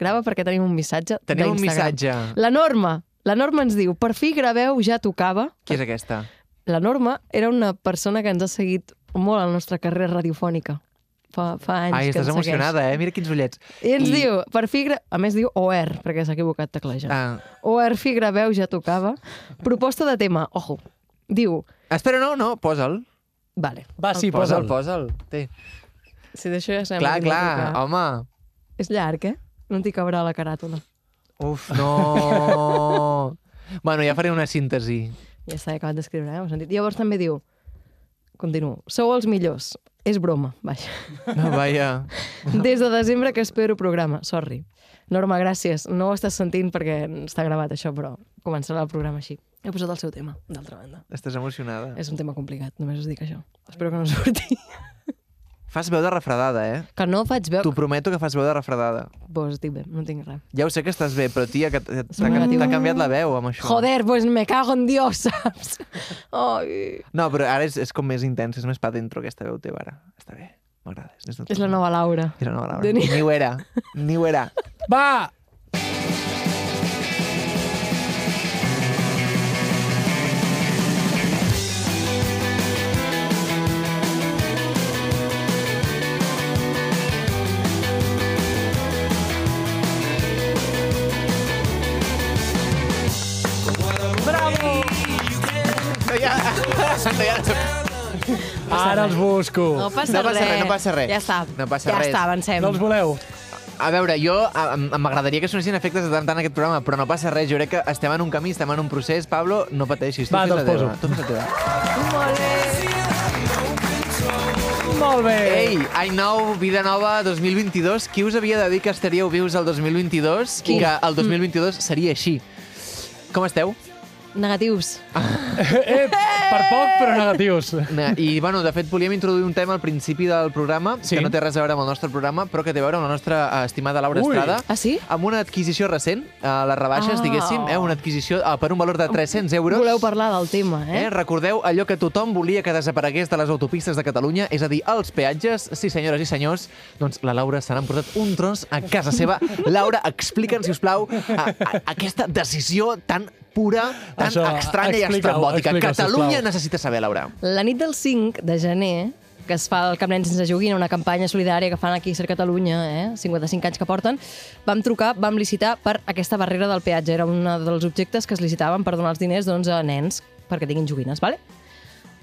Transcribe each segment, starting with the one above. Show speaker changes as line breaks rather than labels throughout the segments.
Grava perquè tenim un missatge
Tenim un
d'Instagram.
missatge.
La Norma. La Norma ens diu, per fi graveu, ja tocava.
Qui és aquesta?
La Norma era una persona que ens ha seguit molt a la nostra carrera radiofònica. Fa, fa anys
Ai,
que
estàs
ens segueix.
emocionada, eh? Mira quins ullets.
I ens
I-
I... diu, per fi... Gra... A més diu OR, perquè s'ha equivocat teclejant.
Ah,
Ah. OR, fi graveu, ja tocava. Proposta de tema, ojo. Diu,
espera, no, no, posa'l.
vale,
Va, sí,
Posa'l,
posa'l.
posa'l. Té.
si d'això ja sabem...
Clar,
a qui
clar,
va tocar.
home.
És llarg, eh? No t'hi cabrà la caràtula.
Uf, no. bueno, ja faré una síntesi.
Ja està, he acabat d'escriure, eh? Ho heu sentit. Llavors també diu, continuo, sou els millors. És broma, vaja.
No, vaja.
Des de desembre que espero programa, sorry. Norma, gràcies. No ho estàs sentint perquè està gravat això, però començarà el programa així. He posat el seu tema, d'altra banda.
Estàs emocionada.
És un tema complicat, només us dic això. Espero que no surti.
Fas veu de refredada, eh?
Que no faig veu...
T'ho
Tu...
prometo que fas veu de refredada.
Pues estic bé, no tinc res.
Ja ho sé que estàs bé, però tia, que t-
Som
t'ha
negatiu.
t'ha canviat la veu amb això.
Joder, pues me cago en Dios, saps? Ai.
No, però ara és, és com més intensa, és més pa dentro aquesta veu teva ara. Està bé, m'agrada. És, més
És la
natural.
nova Laura.
És la nova Laura.
De ni-
Ni ho era, ni ho era.
Va!
No hi ha... No hi ha...
Ara els busco.
No passa,
eh?
res,
No passa res, no passa res.
Ja està.
No passa
ja
res. Doncs
està, avancem.
No els voleu?
A veure, jo a- em- m'agradaria que sonessin efectes de tant en tant aquest programa, però no passa res. Jo crec que estem en un camí, estem en un procés. Pablo, no pateixis. Tu
Va,
fes la
doncs poso.
teva, Tu fes la teva.
Molt bé.
Molt bé.
Ei, any nou, vida nova, 2022. Qui us havia de dir que estaríeu vius el 2022 i que el 2022 seria així? Com esteu?
Negatius.
Eh, per poc, però negatius.
Na- I, bueno, de fet, volíem introduir un tema al principi del programa,
Sí.
que no té res a veure amb el nostre programa, però que té a veure amb la nostra eh, estimada Laura
Ui.
Estrada.
Ah, sí?
Amb una adquisició recent, a les rebaixes,
Ah.
diguéssim, eh, una adquisició eh, per un valor de 300 euros.
Voleu parlar del tema,
Eh?
eh?
Recordeu allò que tothom volia que desaparegués de les autopistes de Catalunya, és a dir, els peatges. Sí, senyores i senyors, doncs la Laura se n'ha emportat un tros a casa seva. Laura, explica'ns, si us plau, a, a, aquesta decisió tan pura, tan
Això,
estranya i
explica-ho,
estrambòtica.
explica-ho, sisplau.
Catalunya necessita saber, Laura.
La nit del 5 de gener, que es fa el Camp Nen sense joguina, una campanya solidària que fan aquí a Ser Catalunya, eh? 55 anys que porten, vam trucar, vam licitar per aquesta barrera del peatge. Era un dels objectes que es licitaven per donar els diners doncs, a nens perquè tinguin joguines, vale?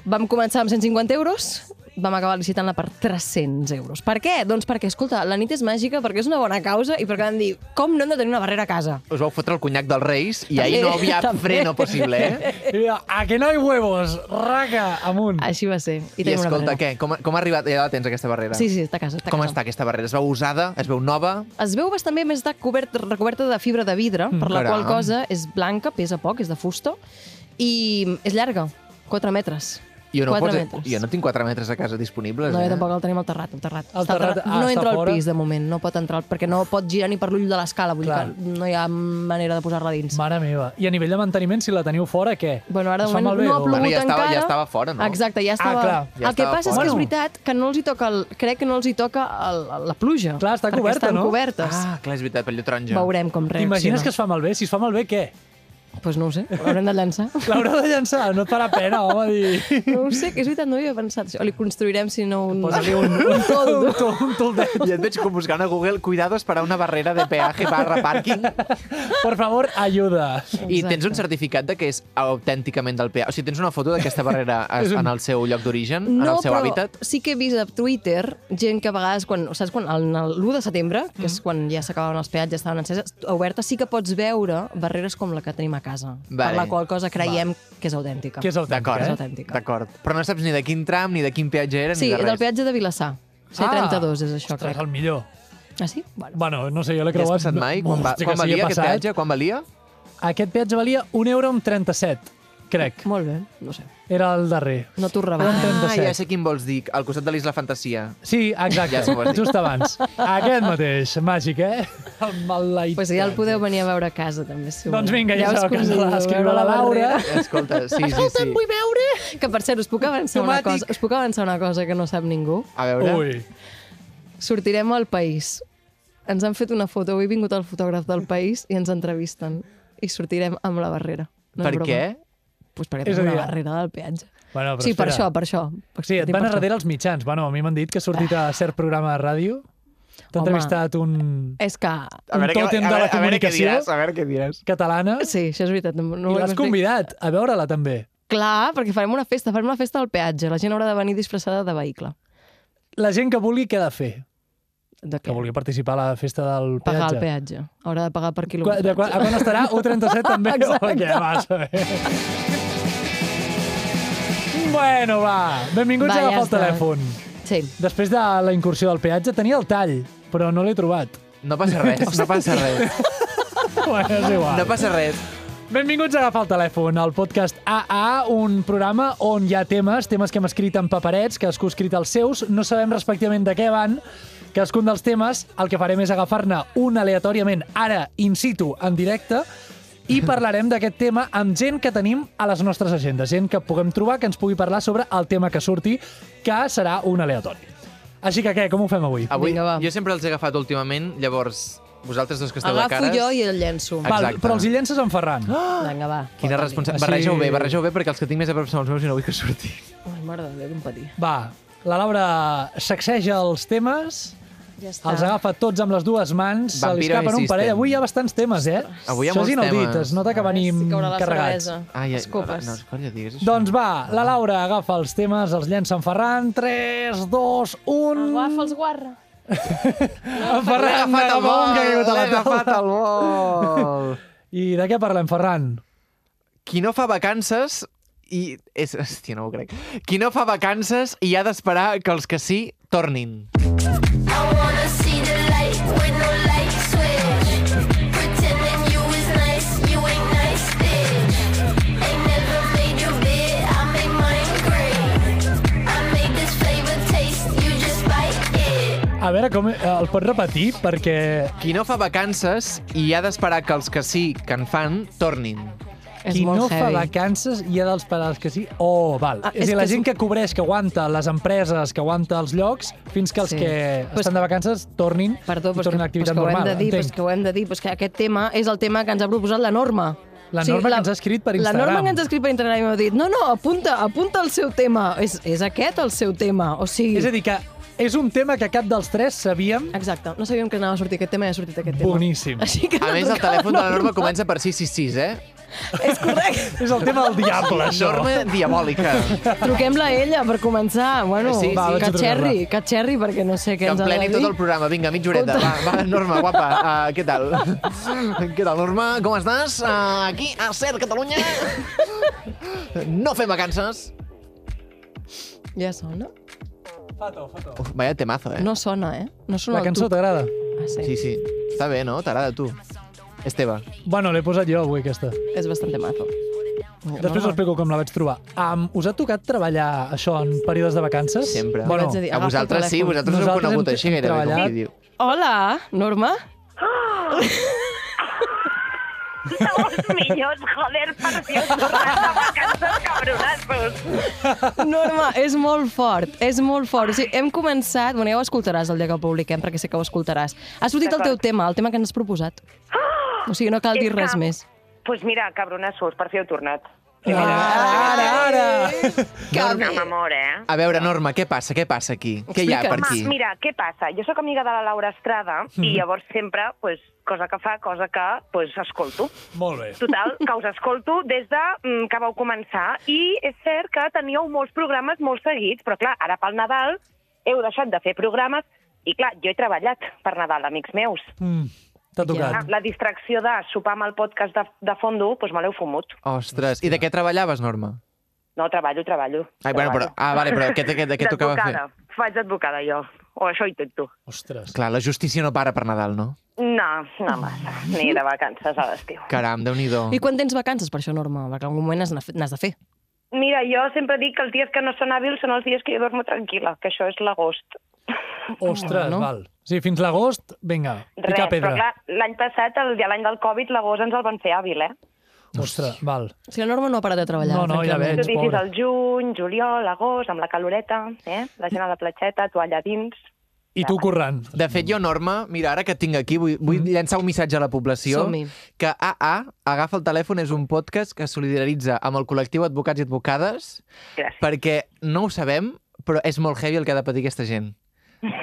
Vam començar amb 150 euros, vam acabar licitant-la per 300 euros. Per què? Doncs perquè, escolta, la nit és màgica, perquè és una bona causa i perquè vam dir, com no hem de tenir una barrera a casa?
Us vau fotre el conyac dels Reis i ahir
També,
no hi havia
també.
freno possible, eh?
I mira, a que no hi huevos, raca, amunt.
Així va ser. I,
I,
tenim una
escolta,
barrera.
què? Com, com ha arribat? Ja la tens, aquesta barrera.
Sí, sí, està a casa. Està a
Com
casa.
està aquesta barrera? Es veu usada? Es veu nova?
Es veu bastant bé, a més està cobert, recoberta de fibra de vidre,
Mm.
per la
Caram.
qual cosa és blanca, pesa poc, és de fusto, i és llarga, 4 metres.
Jo no, ho
4
poso-
metres.
jo no tinc 4 metres a casa disponibles.
No,
eh?
jo tampoc el tenim al terrat. Al terrat.
Al
Està al
terrat, ah,
no
està
entra
fora.
al pis, de moment, no pot entrar, perquè no pot girar ni per l'ull de l'escala, vull dir
Clar.
que no hi ha manera de posar-la dins.
Mare meva. I a nivell de manteniment, si la teniu fora, què?
Bueno, ara de
Us fa
moment
malbé,
no ha
o-
plogut
Bueno, ja estava-
encara.
ja estava fora, no?
Exacte, ja estava...
Ah,
ja
clar,
el que
estava
passa
fora.
és que és
Bueno.
veritat que no els hi toca... El, crec que no els hi toca el, la pluja.
Clar, està
perquè
coberta,
estan
no?
cobertes.
Ah, clar, és veritat, pell taronja.
Veurem com reacciona.
T'imagines que es fa malbé? Si es fa malbé, què?
Doncs pues no ho sé, l'haurem de llançar.
L'haurà de llançar, no et farà pena, home, dir...
No ho sé, que és veritat, no hi havia pensat això. Li construirem, si no, un...
Posa-li un, un, toldo. un, tol, un toldet.
I et veig com buscant a Google, cuidado, es farà una barrera de peaje barra pàrquing.
Per favor, ajuda.
Exacte.
I tens un certificat de que és autènticament del peatge. O sigui, tens una foto d'aquesta barrera a- en el seu lloc d'origen, en
No,
el seu
però
hàbitat.
sí que he vist a Twitter gent que a vegades, quan, saps, quan el- el- l'1 de setembre, que és quan ja s'acabaven els peatges, estaven enceses, obertes, sí que pots veure barreres com la que tenim a casa,
Vale.
per la qual cosa creiem que és autèntica.
Que és
D'acord,
autèntic,
És
eh?
autèntica.
D'acord. Però no saps ni de quin tram, ni de quin peatge era,
Sí,
ni de
del
res.
peatge de Vilassar. C32 és això,
Ah! Ostres,
crec.
el millor.
Ah, sí? Bueno.
Bueno, no sé, jo l'he
Què has
creuat...
passat mai? Quan, va,
Hosti,
quan
que sí, he
valia aquest
passat.
peatge? Quan valia?
Aquest peatge valia 1 euro amb 37, crec.
Molt bé, no sé.
Era el darrer.
No t'ho
Un
rebaixo.
37.
Ah, ja sé quin vols dir. Al costat de l'Isla Fantasia.
Sí, exacte,
Ja sé què vols dir.
just abans. Aquest mateix, màgic, eh? El maleït.
Pues ja el podeu venir a veure a casa, també, si
Doncs
voleu.
vinga, ja,
us
sabeu que
convido eh,
s'ha
a
d'escriure
veure
la Laura.
barrera.
Escolta, sí, sí,
Escolta, em
sí.
vull veure! Que, per cert, us puc avançar una
Automàtic.
cosa, us puc avançar una cosa que no sap ningú.
A veure,
Ui,
Sortirem al país ens han fet una foto, avui ha vingut el fotògraf del país i ens entrevisten. I sortirem amb la barrera. No
per què?
Pues perquè
És a
tenim una
dir-
barrera del peatge.
Bueno, però
sí, per això,
espera.
per això.
Sí, et
Dic
van
per
a darrere els mitjans. Bueno, a mi m'han dit que ha sortit a cert programa de ràdio. T'ha
Home.
entrevistat un,
això. És que...
un
què-
tòtem de
veure-
la
a veure què
comunicació
diràs, a veure què diràs.
catalana
Sí, això és veritat. No, no
i
ho
l'has
explico.
convidat a veure-la també.
Clar, perquè farem una festa, farem una festa al peatge. La gent haurà de venir disfressada de vehicle.
La gent que vulgui, què ha de fer?
De
Que
què?
vulgui participar a la festa del
Pagar el
peatge.
peatge. Haurà de pagar per
Qua-
quilòmetre.
De quan, a quan estarà? 1.37 també? O què vas a veure? Bueno, va. Benvinguts
Va,
a
ja
agafar el
està.
telèfon.
Sí.
Després de la incursió del peatge, tenia el tall, però no l'he trobat.
No passa res, no passa res.
Bueno, és igual.
No passa res.
Benvinguts a Agafar el Telèfon, el podcast AA, un programa on hi ha temes, temes que hem escrit en paperets, que cadascú ha escrit els seus, no sabem respectivament de què van, cadascun dels temes, el que farem és agafar-ne un aleatòriament, ara, in situ, en directe, i parlarem d'aquest tema amb gent que tenim a les nostres agendes, gent que puguem trobar, que ens pugui parlar sobre el tema que surti, que serà un aleatori. Així que què, com ho fem avui?
Avui,
Vinga, va.
jo sempre els he agafat últimament, llavors, vosaltres dos que esteu de
Agafo
cares...
jo i el llenço.
Ah,
Val,
exacte.
però els hi llences en Ferran.
Ah! Vinga, va.
Quina responsabilitat.
Així-
Barregeu bé, barregeu bé, perquè els que tinc més a prop són els meus i no vull que surti.
Ai, mare de Déu, d'un patí.
Va, la Laura sacseja els temes,
Ja està.
Els agafa tots amb les dues mans, se li
Vampiro
escapen un
Insistent.
parell. Avui hi ha bastants temes, eh?
Avui hi ha
Això
molts
és inaudit,
temes.
es nota que venim
Sí, caurà la
carregats.
cervesa.
Ai,
Les copes.
No, no, colla, digues això.
Doncs va, la Laura agafa els temes, els llença en Ferran. 3, 2, 1...
Agafa els guarra.
Doncs
En Ferran, de bon que ha caigut a
l'he
la taula.
agafat el vol.
I de què parlem, Ferran?
Qui no fa vacances i... És... Hòstia, no ho crec. Qui no fa vacances i ha d'esperar que els que sí tornin.
I wanna see the light with no light switch. Pretending you is nice, you ain't nice, bitch. Ain't never made your bed, I make mine great. I made this flavor taste, you just bite it.
A veure, com, eh, el pots repetir? Perquè...
Qui no fa vacances i ha d'esperar que els que sí que en fan tornin.
És
Qui
molt
no fa
heavy.
vacances hi ha dels parals que sí. Oh, val.
Ah,
és,
és
a dir, la
que és-
gent que cobreix, que aguanta les empreses, que aguanta els llocs, fins que els
Sí.
que
Pues-
estan de vacances tornin,
Perdó,
i
però és que,
tornin a
però és que
l'activitat
ho hem
normal.
de dir, però és
entenc.
que ho hem de dir, però és que aquest tema és el tema que ens ha proposat la Norma.
La Norma que ens ha escrit per
La Norma
Instagram.
que ens ha escrit per Instagram i m'ha dit, no, no, apunta, apunta el seu tema, és, és aquest el seu tema, o sigui...
És a dir, que és un tema que cap dels tres sabíem.
Exacte, no sabíem que anava a sortir aquest tema i ha sortit aquest tema.
Boníssim.
Així que
A
no
més, el
trucava
telèfon de la Norma comença per 666, eh?
És correcte.
És el tema del diable, això.
Norma diabòlica.
Truquem-la a ella per començar. Bueno,
Sí, sí. Va,
vaig a
que xerri,
trucar-la.
que xerri, perquè no sé
Que
què ens ha de
empleni
dir.
tot el programa. Vinga, mitja horeta. Va, va, Norma, guapa. Uh, què tal? què tal, Norma? Com estàs? Uh, aquí, a CER Catalunya. No fem vacances.
Ja sona?
Fato, fato.
Uf, vaya temazo, eh?
No sona, eh? No sona
La cançó
el tub.
t'agrada?
Ah, sí.
Sí, sí. Està bé, no? T'agrada a tu. És teva.
Bueno, l'he posat jo avui, aquesta.
És bastant mazo.
Després us explico com la vaig trobar. Um, us ha tocat treballar això en períodes de vacances?
Sempre.
Bueno,
Jo vaig a dir-
a
agafa el
vosaltres sí,
telèfon.
vosaltres us heu
Nosaltres
conegut
hem
així gairebé, com
treballat.
qui diu.
Hola, Norma.
Somos niños, joder, por Dios, las vacances cabronazos.
Norma, és molt fort, és molt fort. O sigui, hem començat... Bueno, ja ho escoltaràs el dia que el publiquem, perquè sé que ho escoltaràs. Ha sortit el teu tema, el tema que ens has proposat. O sigui, no cal dir
És
res
que-
més.
Pues mira, cabronazos, per fi heu tornat.
Ara, ara, ara!
Cal...
Amb amor, eh?
A veure, Norma, què passa? Què passa aquí? Què hi ha per
Explica'ns.
aquí? Mhm.
Home, Ah, mira, què passa? Jo sóc amiga de la Laura Estrada i llavors sempre, pues, cosa que fa, cosa que pues, escolto.
Molt bé.
Total, que us escolto des de mm, que vau començar i és cert que teníeu molts programes molt seguits, però clar, ara pel Nadal heu deixat de fer programes i clar, jo he treballat per Nadal, amics meus.
Mm, T'ha
Ah,
tocat.
La distracció de sopar amb el podcast de, de fondo, doncs me l'heu fumut.
Ostres, i de què treballaves, Norma?
No, treballo, treballo.
Ai, bueno, però... Ah, vale, però què, què, de què tocava fer?
D'advocada. Faig advocada, jo. O això intento.
Ostres.
Clar, la justícia no para per Nadal, no?
No, no massa. Ni de vacances a l'estiu.
Caram, déu nhi
I quan tens vacances per això, Norma? Perquè en algun moment has de- n'has de fer.
Mira, jo sempre dic que els dies que no són hàbils són els dies que jo dormo tranquil·la, que això és l'agost.
Ostres,
Bueno.
val. Sí, fins l'agost, vinga, picar
però
pedra.
clar, l'any passat, el, i l'any del Covid, l'agost ens el van fer hàbil, eh?
Ostres, val.
O sigui, la Norma no ha parat de treballar.
No, no, ja
tranquil·lament.
veig.
Judicis
pobra.
al juny, juliol, agost, amb la caloreta, eh? La gent a la platxeta, toalla a dins.
I tu currant.
De fet, jo, Norma, mira, ara que et tinc aquí, vull, vull llançar un missatge a la població
Som-hi.
que AA, Agafa el telèfon, és un podcast que solidaritza amb el col·lectiu Advocats i Advocades
Gràcies.
perquè no ho sabem, però és molt heavy el que ha de patir aquesta gent.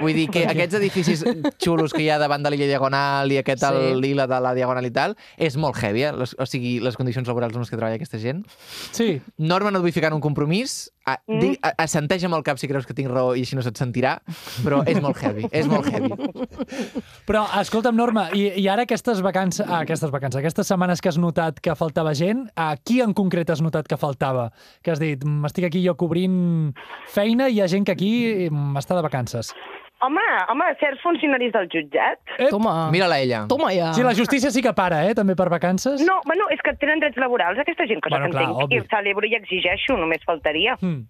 Vull dir que aquests edificis xulos que hi ha davant de l'illa Diagonal i aquest sí.
Sí.
l'ila de la Diagonal i tal, és molt heavy, eh? les, o sigui, les condicions laborals en les que treballa aquesta gent.
Sí.
Norma, no et vull ficar en un compromís. A, mm. di, a, assenteix amb el cap si creus que tinc raó i així no se't sentirà, però és molt heavy, és molt heavy.
Però, escolta'm, Norma, i, i ara aquestes vacances, ah, aquestes vacances, aquestes setmanes que has notat que faltava gent, a qui en concret has notat que faltava? Que has dit, m'estic aquí jo cobrint feina i hi ha gent que aquí mm, està de vacances.
Home, home, certs funcionaris del jutjat.
Ep.
Toma.
Mira-la ella.
Toma ja.
Sí, la justícia sí que para, eh? També per vacances.
No, bueno, és que tenen drets laborals, aquesta gent, cosa
Bueno,
que
clar,
entenc.
obvi.
I ho celebro i exigeixo, només faltaria.
Hmm.
Mm.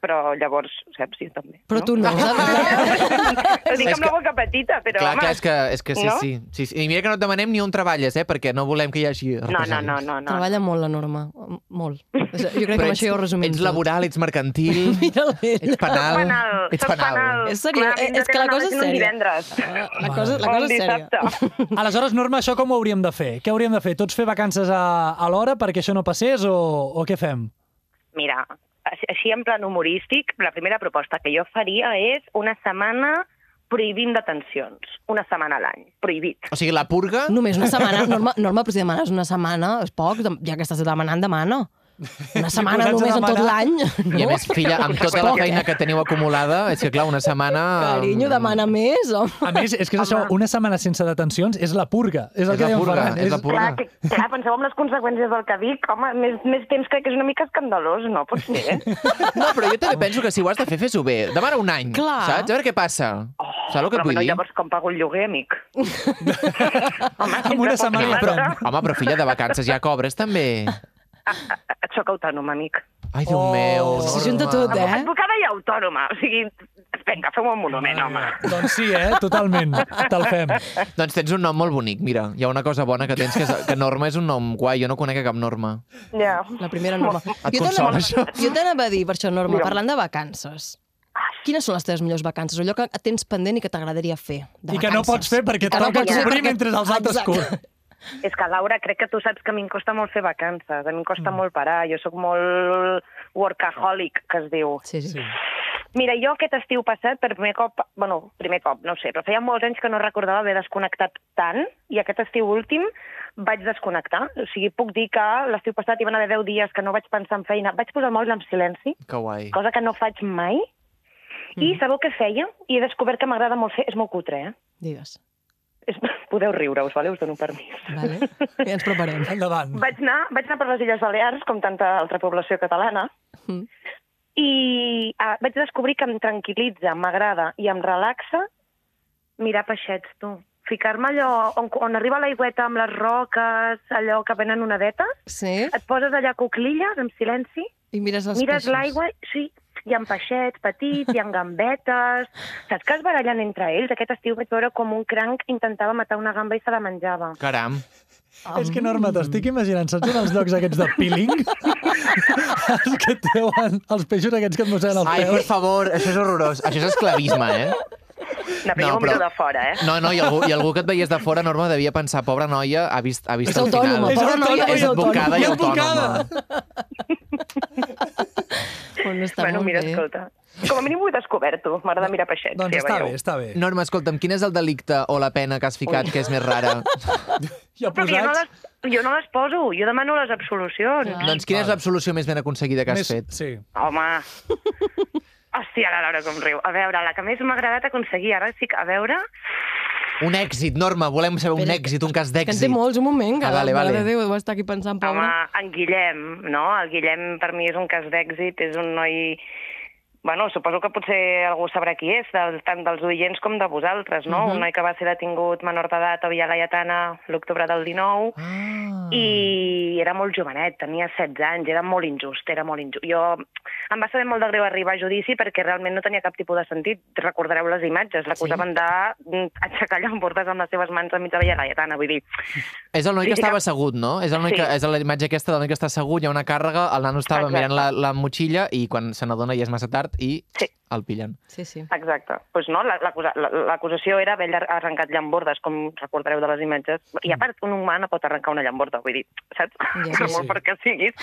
Però llavors, saps, sí, també.
Però tu no.
Ho dic
És
amb la
que-
boca petita, però...
Clar,
home,
clar, és que, és que sí,
No?
sí, sí, sí. I mira que no et demanem ni on treballes, eh? Perquè no volem que hi hagi
No, no,
represàlies.
no, no. no.
Treballa molt la Norma. Molt. Jo crec que
Però
amb això ja ho resumim
ets
tot.
laboral, ets mercantil,
Mira-la
ets
ella.
Soc
penal,
penal,
ets
soc
penal.
És seriós, Eh,
Clar,
és que la cosa és
no
sèria.
divendres.
Ah, La cosa, la
O
cosa
un
és sèria.
dissabte.
Aleshores, Norma, això com ho hauríem de fer? Què hauríem de fer? Tots fer vacances a, a l'hora perquè això no passés o, o què fem?
Mira, així- així en plan humorístic, la primera proposta que jo faria és una setmana prohibint detencions. Una setmana a l'any. Prohibit.
O sigui, la purga...
Només una setmana. Norma, Norma, però si demanes una setmana, és poc, dem- ja que estàs demanant, demana. Una setmana
posats a
només en tot
demanar.
l'any. No?
I a més, filla, amb tota la
Poc, eh?
feina que teniu acumulada, és que clar, una setmana... mm,
Carinyo, demana més, home.
A més, és que és això, una setmana sense detencions és la purga. És
És
el que
la
dèiem
purga,
Ferran.
és la purga.
Clar, que, clar, penseu en les conseqüències del que dic. Home, més, més temps crec que és una mica escandalós, no? Pot ser, eh?
No, però jo també penso que si ho has de fer, fes-ho bé. Demana un any,
Clar.
saps? A veure què passa. Oh, saps el que
Però
et vull
bueno,
dir?
llavors com pago el lloguer, amic? Home,
Amb una setmana
Home, però,
Ferran.
home, però filla, de vacances ja cobres també.
Et soc autònoma, amic.
Ai, Déu
Oh.
meu, Norma.
S'hi junta tot, eh?
Advocada i autònoma. O sigui, vinga, feu un monument, Eh, home.
Doncs sí, eh? Totalment. Te'l fem.
Doncs tens un nom molt bonic, mira. Hi ha una cosa bona que tens, que, és, que Norma és un nom guai. Jo no conec a cap Norma.
Ja.
La primera norma.
Et
Jo
consola,
t'anava-
això?
Jo t'anava a dir, per això, Norma,
Digue'm.
parlant de vacances. Quines són les teves millors vacances? Allò que tens pendent i que t'agradaria fer de
I que no
vacances.
pots fer perquè
I que no
toca
pots fer
cobrir
perquè-
mentre els altres
Exacte.
cobren.
És que, Laura, crec que tu saps que a mi em costa molt fer vacances, a mi em costa mm. molt parar, jo sóc molt workaholic, que es diu.
Sí, sí.
Sí.
Mira, jo aquest estiu passat, per primer cop, bueno, primer cop, no ho sé, però feia molts anys que no recordava haver desconnectat tant, i aquest estiu últim vaig desconnectar. O sigui, puc dir que l'estiu passat hi van haver 10 dies que no vaig pensar en feina, vaig posar el mòbil en silenci,
Que guai.
cosa que no faig mai, i sabeu què feia? I he descobert que m'agrada molt fer... És molt cutre, eh?
Digues.
És... Podeu riure, us, vale? Us dono permís.
Vale. Ja ens preparem.
Endavant.
Vaig anar, vaig anar per les Illes Balears, com tanta altra població catalana,
Mm.
i ah, vaig descobrir que em tranquil·litza, m'agrada i em relaxa mirar peixets, tu. Ficar-me allò on, on arriba l'aigüeta amb les roques, allò que venen onadeta,
Sí?
et poses allà cuclilles, en silenci,
I mires els
mires
peixos.
l'aigua, sí, hi ha peixets petits, hi ha gambetes... Saps que es barallen entre ells? Aquest estiu vaig veure com un cranc intentava matar una gamba i se la menjava.
Caram.
És que, Norma, t'estic imaginant, saps en els llocs aquests de peeling? els que et treuen els peixos aquests que et mosseguen els
Ai, per
peus.
favor, això és horrorós. Això és esclavisme, eh?
No, però
No,
jo m'ho
però-
miro de fora, eh?
No, no, i algú, i algú que et veies de fora, Norma, devia pensar, pobra noia, ha vist, ha vist
És
el final.
autònoma, pobra noia,
És
és
advocada i autònoma.
Bueno, està
bueno,
molt
mira,
bé.
escolta. Com a mínim ho he descobert, tu. M'agrada mirar peixets.
Doncs
ja
està
veieu.
bé, està bé.
Norma, escolta'm, quin és el delicte o la pena que has ficat que és més rara?
Ja
Però que jo no,
posats...
les, jo no les poso, jo demano les absolucions.
Clar.
doncs quina és
Val.
l'absolució més ben aconseguida que has
Més-
fet?
Sí.
Home... Hòstia, la Laura com riu. A veure, la que més m'ha agradat aconseguir, ara sí que a veure...
Un èxit, Norma, volem saber un
Espera,
èxit, un cas
Que en té
d'èxit.
molts, un moment, que
Ah, vale,
la mare
vale.
de Déu deu estar aquí pensant,
Home,
pobra.
en Guillem, no? El Guillem per mi és un cas d'èxit, és un noi... Bueno, suposo que potser algú sabrà qui és, del, tant dels oients com de vosaltres, no? Un noi que va ser detingut menor d'edat a Villa Laietana l'octubre del 19,
Ah.
i era molt jovenet, tenia 16 anys, era molt injust, era molt injust. Jo em va saber molt de greu arribar a judici perquè realment no tenia cap tipus de sentit. Recordareu les imatges, l'acusaven sí. d'aixecar llambordes amb les seves mans enmig de Vella Laietana, vull dir...
És el noi que
Sí,
estava
era-
assegut, no? És el noi
Sí.
que, és la imatge aquesta del noi que està assegut, hi ha una càrrega, el nano estava
Exacte.
mirant la, la motxilla i quan se n'adona ja és massa tard i
Sí.
el pillen.
Sí, sí.
Exacte. Pues no, la- l'acusa- la- l'acusació era haver llar- arrencat llambordes, com recordareu de les imatges. I a part, un humà no pot arrencar una llamborda, vull dir, saps?
Ja,
Ja,
sí,
sí, molt perquè siguis.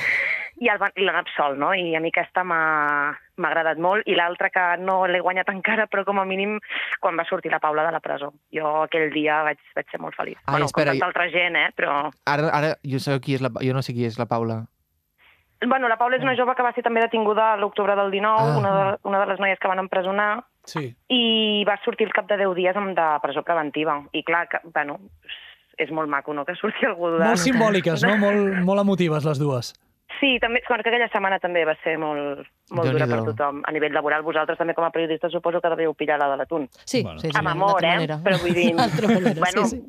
I el van- i l'han absolt, no? I a mi aquesta m'ha m'ha agradat molt. I l'altra que no l'he guanyat encara, però com a mínim quan va sortir la Paula de la presó. Jo aquell dia vaig, vaig ser molt feliç.
Ai,
bueno,
espera,
com
i-
tanta altra gent, eh? Però...
Ara, ara jo, sé qui és la, jo no sé qui és la Paula.
Bueno, la Paula és una jove que va ser també detinguda a l'octubre del 19,
Mm. Ah.
ah. una, de, una de les noies que van empresonar,
Sí.
i va sortir al cap de 10 dies amb de presó preventiva. I clar, que, bueno, és molt maco, no?, que surti algú de...
Molt simbòliques, no? Molt, molt emotives, les dues.
Sí, també, bueno, que aquella setmana també va ser molt, molt dura per
Déu-n'hi-do.
tothom. A nivell laboral, vosaltres també com a periodistes suposo que devíeu pillar la de l'atún.
Sí,
Bueno.
sí, sí,
Amb amor,
d'altra
eh?
manera.
Però vull dir...
D'altra manera,
bueno,
sí, sí.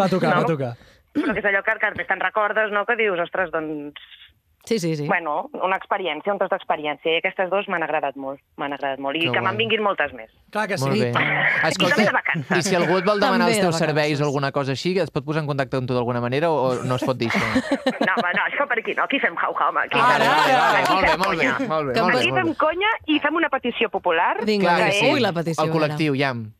Va tocar,
No.
va tocar.
Però que és allò que, que te'n recordes, no?, que dius, ostres, doncs...
Sí, sí, sí.
Bueno, una experiència, un tros d'experiència. I aquestes dues m'han agradat molt, m'han agradat molt. I
Que
que, que
guai.
me'n vinguin moltes més.
Clar que sí.
Molt bé.
també de vacances.
i si algú et vol demanar
També
els
de
teus serveis
vacances.
o alguna cosa així, es pot posar en contacte amb tu d'alguna manera o, o no es pot dir això? Ah,
No, home, no, això per aquí no, aquí fem hau-hau, home. Aquí,
Vale, vale, vale,
aquí
molt bé,
fem
molt bé,
conya.
molt bé,
Que em
molt bé,
Aquí
molt
fem
bé.
conya i fem una petició popular.
Vinga,
Clar
Clar,
que
que
sí.
Ui, la petició.
El col·lectiu, llam.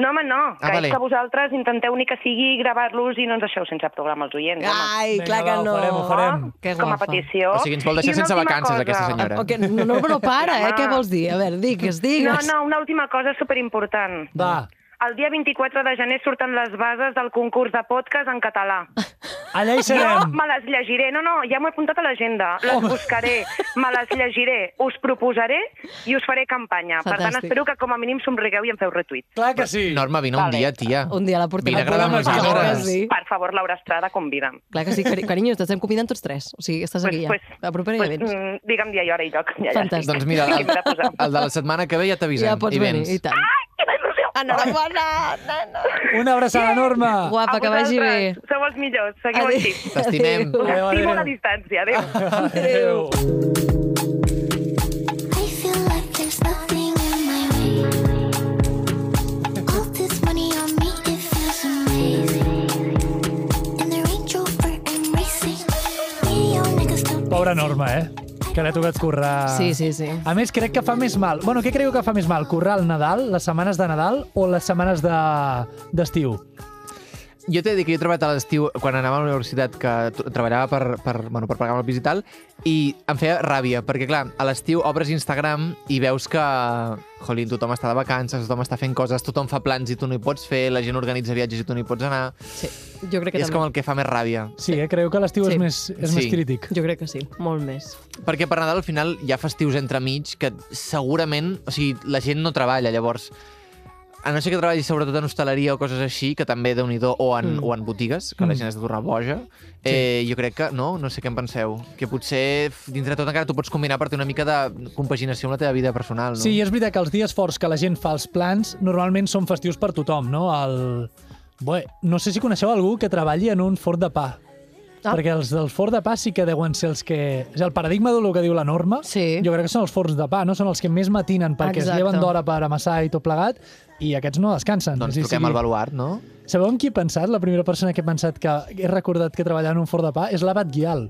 No, home, no, que
Ah, vale.
és que vosaltres intenteu ni que sigui gravar-los i no ens deixeu sense programa els oients,
Era.
home.
Ai,
Vinga,
clar que
va, ho
no. Ah,
farem, ho farem.
Que
Com a
guapa.
petició.
O sigui, ens vol deixar
I una
sense
última
vacances,
cosa.
aquesta senyora.
O que no, no, no para, eh?
Home.
Què vols dir? A veure, digues,
No,
digues.
no, una última cosa superimportant.
Va,
El dia 24 de gener surten les bases del concurs de podcast en català.
allà hi
Jo
serem.
me les llegiré. No, no, ja m'ho he apuntat a l'agenda. Les
Home.
buscaré, me les llegiré, us proposaré i us faré campanya. Per tant,
Fantàstic.
espero que com a mínim somrigueu i em feu retuit.
Clar que sí.
Norma, vine un
Vale.
dia, tia.
Un dia la portem.
Vine a gravar amb
Programa de
nosaltres.
hores.
Sí.
Per favor, Laura Estrada, convida'm.
Clar que sí, cari carinyo, t'estem convidant tots tres. O sigui, estàs aquí ja. A propera ja vens.
mm, digue'm dia i hora i lloc. Ja, ja.
Fantàstic.
Doncs mira, el,
M'he de posar.
el de la setmana que ve ja t'avisem.
Ja pots
i
venir,
vens.
i tant. Ah,
Quina il·lusió!
Enhorabona, nena.
Una abraçada, Norma.
Guapa,
A
que vagi bé.
vosaltres, Sou els millors, seguiu
Adéu.
així.
T'estimem.
Adéu.
Us
Adéu,
estimo a la
adéu.
distància. Adéu.
Adéu.
I feel like there's nothing in my way. All this money on me, it feels amazing. In the Range Rover, I'm racing. Million niggas don't
Pobra Norma, eh? Que l'ha tocat currar.
Sí, sí, sí.
A més, crec que fa més mal. Bueno, què creieu que fa més mal? Currar el Nadal, les setmanes de Nadal o les setmanes de- d'estiu? De...
Jo t'he de dir que jo he treballat a l'estiu quan anava a la universitat, que tr- treballava per, per, bueno, per pagar amb el pis i tal, i em feia ràbia, perquè clar, a l'estiu obres Instagram i veus que, jolín, tothom està de vacances, tothom està fent coses, tothom fa plans i tu no hi pots fer, la gent organitza viatges i tu no hi pots anar.
sí. Jo crec que
és
també.
com el que fa més ràbia.
sí, eh? Creieu que l'estiu
Sí.
és, més, és
Sí.
més crític.
Jo crec que sí, molt més.
Perquè per Nadal al final hi ha festius entremig que segurament, o sigui, la gent no treballa, llavors a no ser que treballis sobretot en hostaleria o coses així, que també déu nhi o, en, mm. o en botigues, que la gent es torna boja, eh, jo crec que, no, no sé què en penseu, que potser f- dintre de tot encara t'ho pots combinar per tenir una mica de compaginació amb la teva vida personal, no?
Sí, i és veritat que els dies forts que la gent fa els plans normalment són festius per tothom, no? El... Bé, no sé si coneixeu algú que treballi en un forn de pa.
Ah.
Ah. Perquè els del forn de pa sí que deuen ser els que... És el paradigma del que diu la norma.
Sí.
Jo crec que són els forns de pa, no? Són els que més matinen perquè
Exacte.
es lleven d'hora per amassar i tot plegat i aquests no descansen.
Doncs
És a dir,
truquem al baluart, no?
Sabeu en qui he pensat? La primera persona que he pensat que he recordat que treballava en un forn de pa és l'Abat Guial.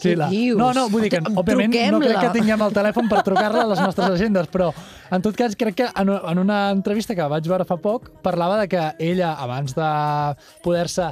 Què
la...
dius?
No, no, vull dir que,
Em-
òbviament, no crec
truquem-la.
que tinguem el telèfon per trucar-la a les nostres agendes, però, en tot cas, crec que en, en una entrevista que vaig veure fa poc, parlava de que ella, abans de poder-se...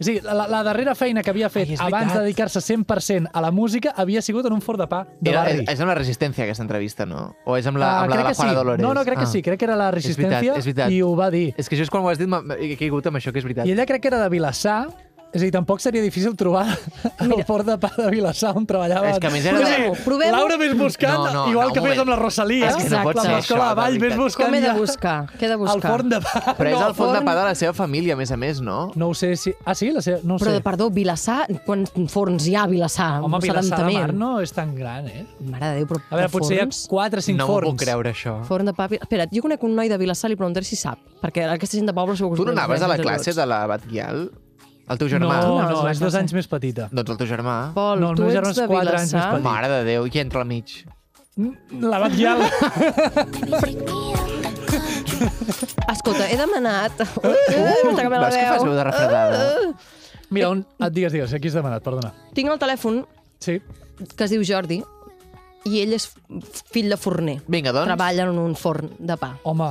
O sigui, la, la darrera feina que havia
Ai,
fet
és
abans de
veritat.
dedicar-se 100% a la música havia sigut en un forn de pa de
Era,
barri.
és, és amb la resistència, aquesta entrevista, no? O és amb la,
Ah,
amb la
crec
de la
que
Juana
sí.
Dolores? Ah.
No, no, crec que sí, crec que era la
És
Resistència
veritat, és veritat.
i ho va dir.
És que jo és quan ho has dit, m'ha- he caigut amb això, que és veritat.
I ella crec que era de Vilassar, és a dir, tampoc seria difícil trobar el port de pa de Vilassar on treballava.
És que a més era-
Provem-ho, provem-ho.
Laura més buscant,
No, no,
igual
no,
que
un
fes
moment.
amb la Rosalia,
És
que no pot
amb
ser
l'escola
això,
de Vall,
de
més
veritat.
buscant
Com he de
ja
buscar? Què he de buscar?
El forn de pa.
Però és el fons de
forn-
pa de la seva família, a més a més, no?
No ho sé si... Ah, sí? La seva... No ho
Però,
sé.
perdó, Vilassar, quants forns hi ha a Vilassar?
Home,
Un
Vilassar de Mar
sedentament.
no és tan gran, eh?
Mare de Déu, però
A veure,
de
potser hi ha
forns?
4 o 5
no m'ho
forns.
puc creure, això.
Forn de pa... Vil- Espera, jo conec un noi de Vilassar, li preguntaré si sap, perquè aquesta gent de poble segur que...
Tu no
us
anaves a la
coneix
classe
entre
de la Batguial? El teu
No,
germà?
no,
No,
és dos
no sé.
anys més petita.
Doncs el teu
tots.
germà.
Pol,
No, el
tu
meu germà
ets
és
de
quatre anys
Vilassar?
més
Mare de Déu, i qui entra al mig?
Mm, La Bat Guial.
Escolta, he demanat... Uh, M'està canviant la
Veus que Eh? fas veu
veu.
de refredada?
Ah, Mira, on... Et digues, digues, aquí has demanat, perdona.
Tinc el telèfon
Sí.
que es diu Jordi, i ell és fill de forner.
Vinga, doncs.
Treballa en un forn de pa.
Home,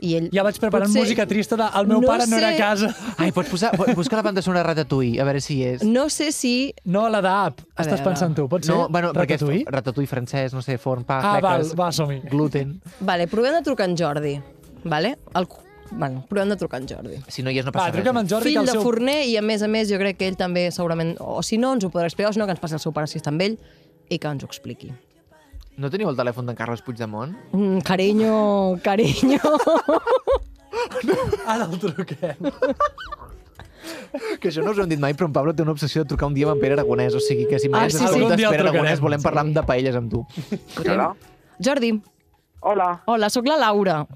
I ell...
ja vaig preparant Potser... música trista de El meu no pare no era a casa.
Ai, pots posar, pots buscar la banda sonora Ratatouille, a veure si hi és.
No sé si...
No, la d'App.
A
Estàs
veure.
pensant tu, pot ser?
No, bueno, perquè
Ratatouille?
és ratatouille francès, no sé, forn, pa,
Ah, val,
fleques,
va, som-hi.
gluten...
Vale, provem de trucar en Jordi. Vale? El... Bueno, provem de trucar en Jordi.
Si no hi és, no
Va,
passa
truca'm en
res.
Jordi,
Fill
que
de
el seu...
forner i, a més a més, jo crec que ell també segurament... O si no, ens ho podrà explicar, o si no, que ens passi el seu pare si està amb ell i que ens ho expliqui.
No teniu el telèfon d'en Carles Puigdemont?
Mm, carinyo, carinyo...
Ara el truquem.
Que això no us ho hem dit mai, però en Pablo té una obsessió de trucar un dia amb en Pere Aragonès, o sigui que si mai
Ah,
ens
sí, sí.
escoltes,
Algun dia el
Pere Aragonès,
trucarem.
volem parlar de paelles amb tu.
Hola.
Jordi,
Hola.
hola, sóc la Laura.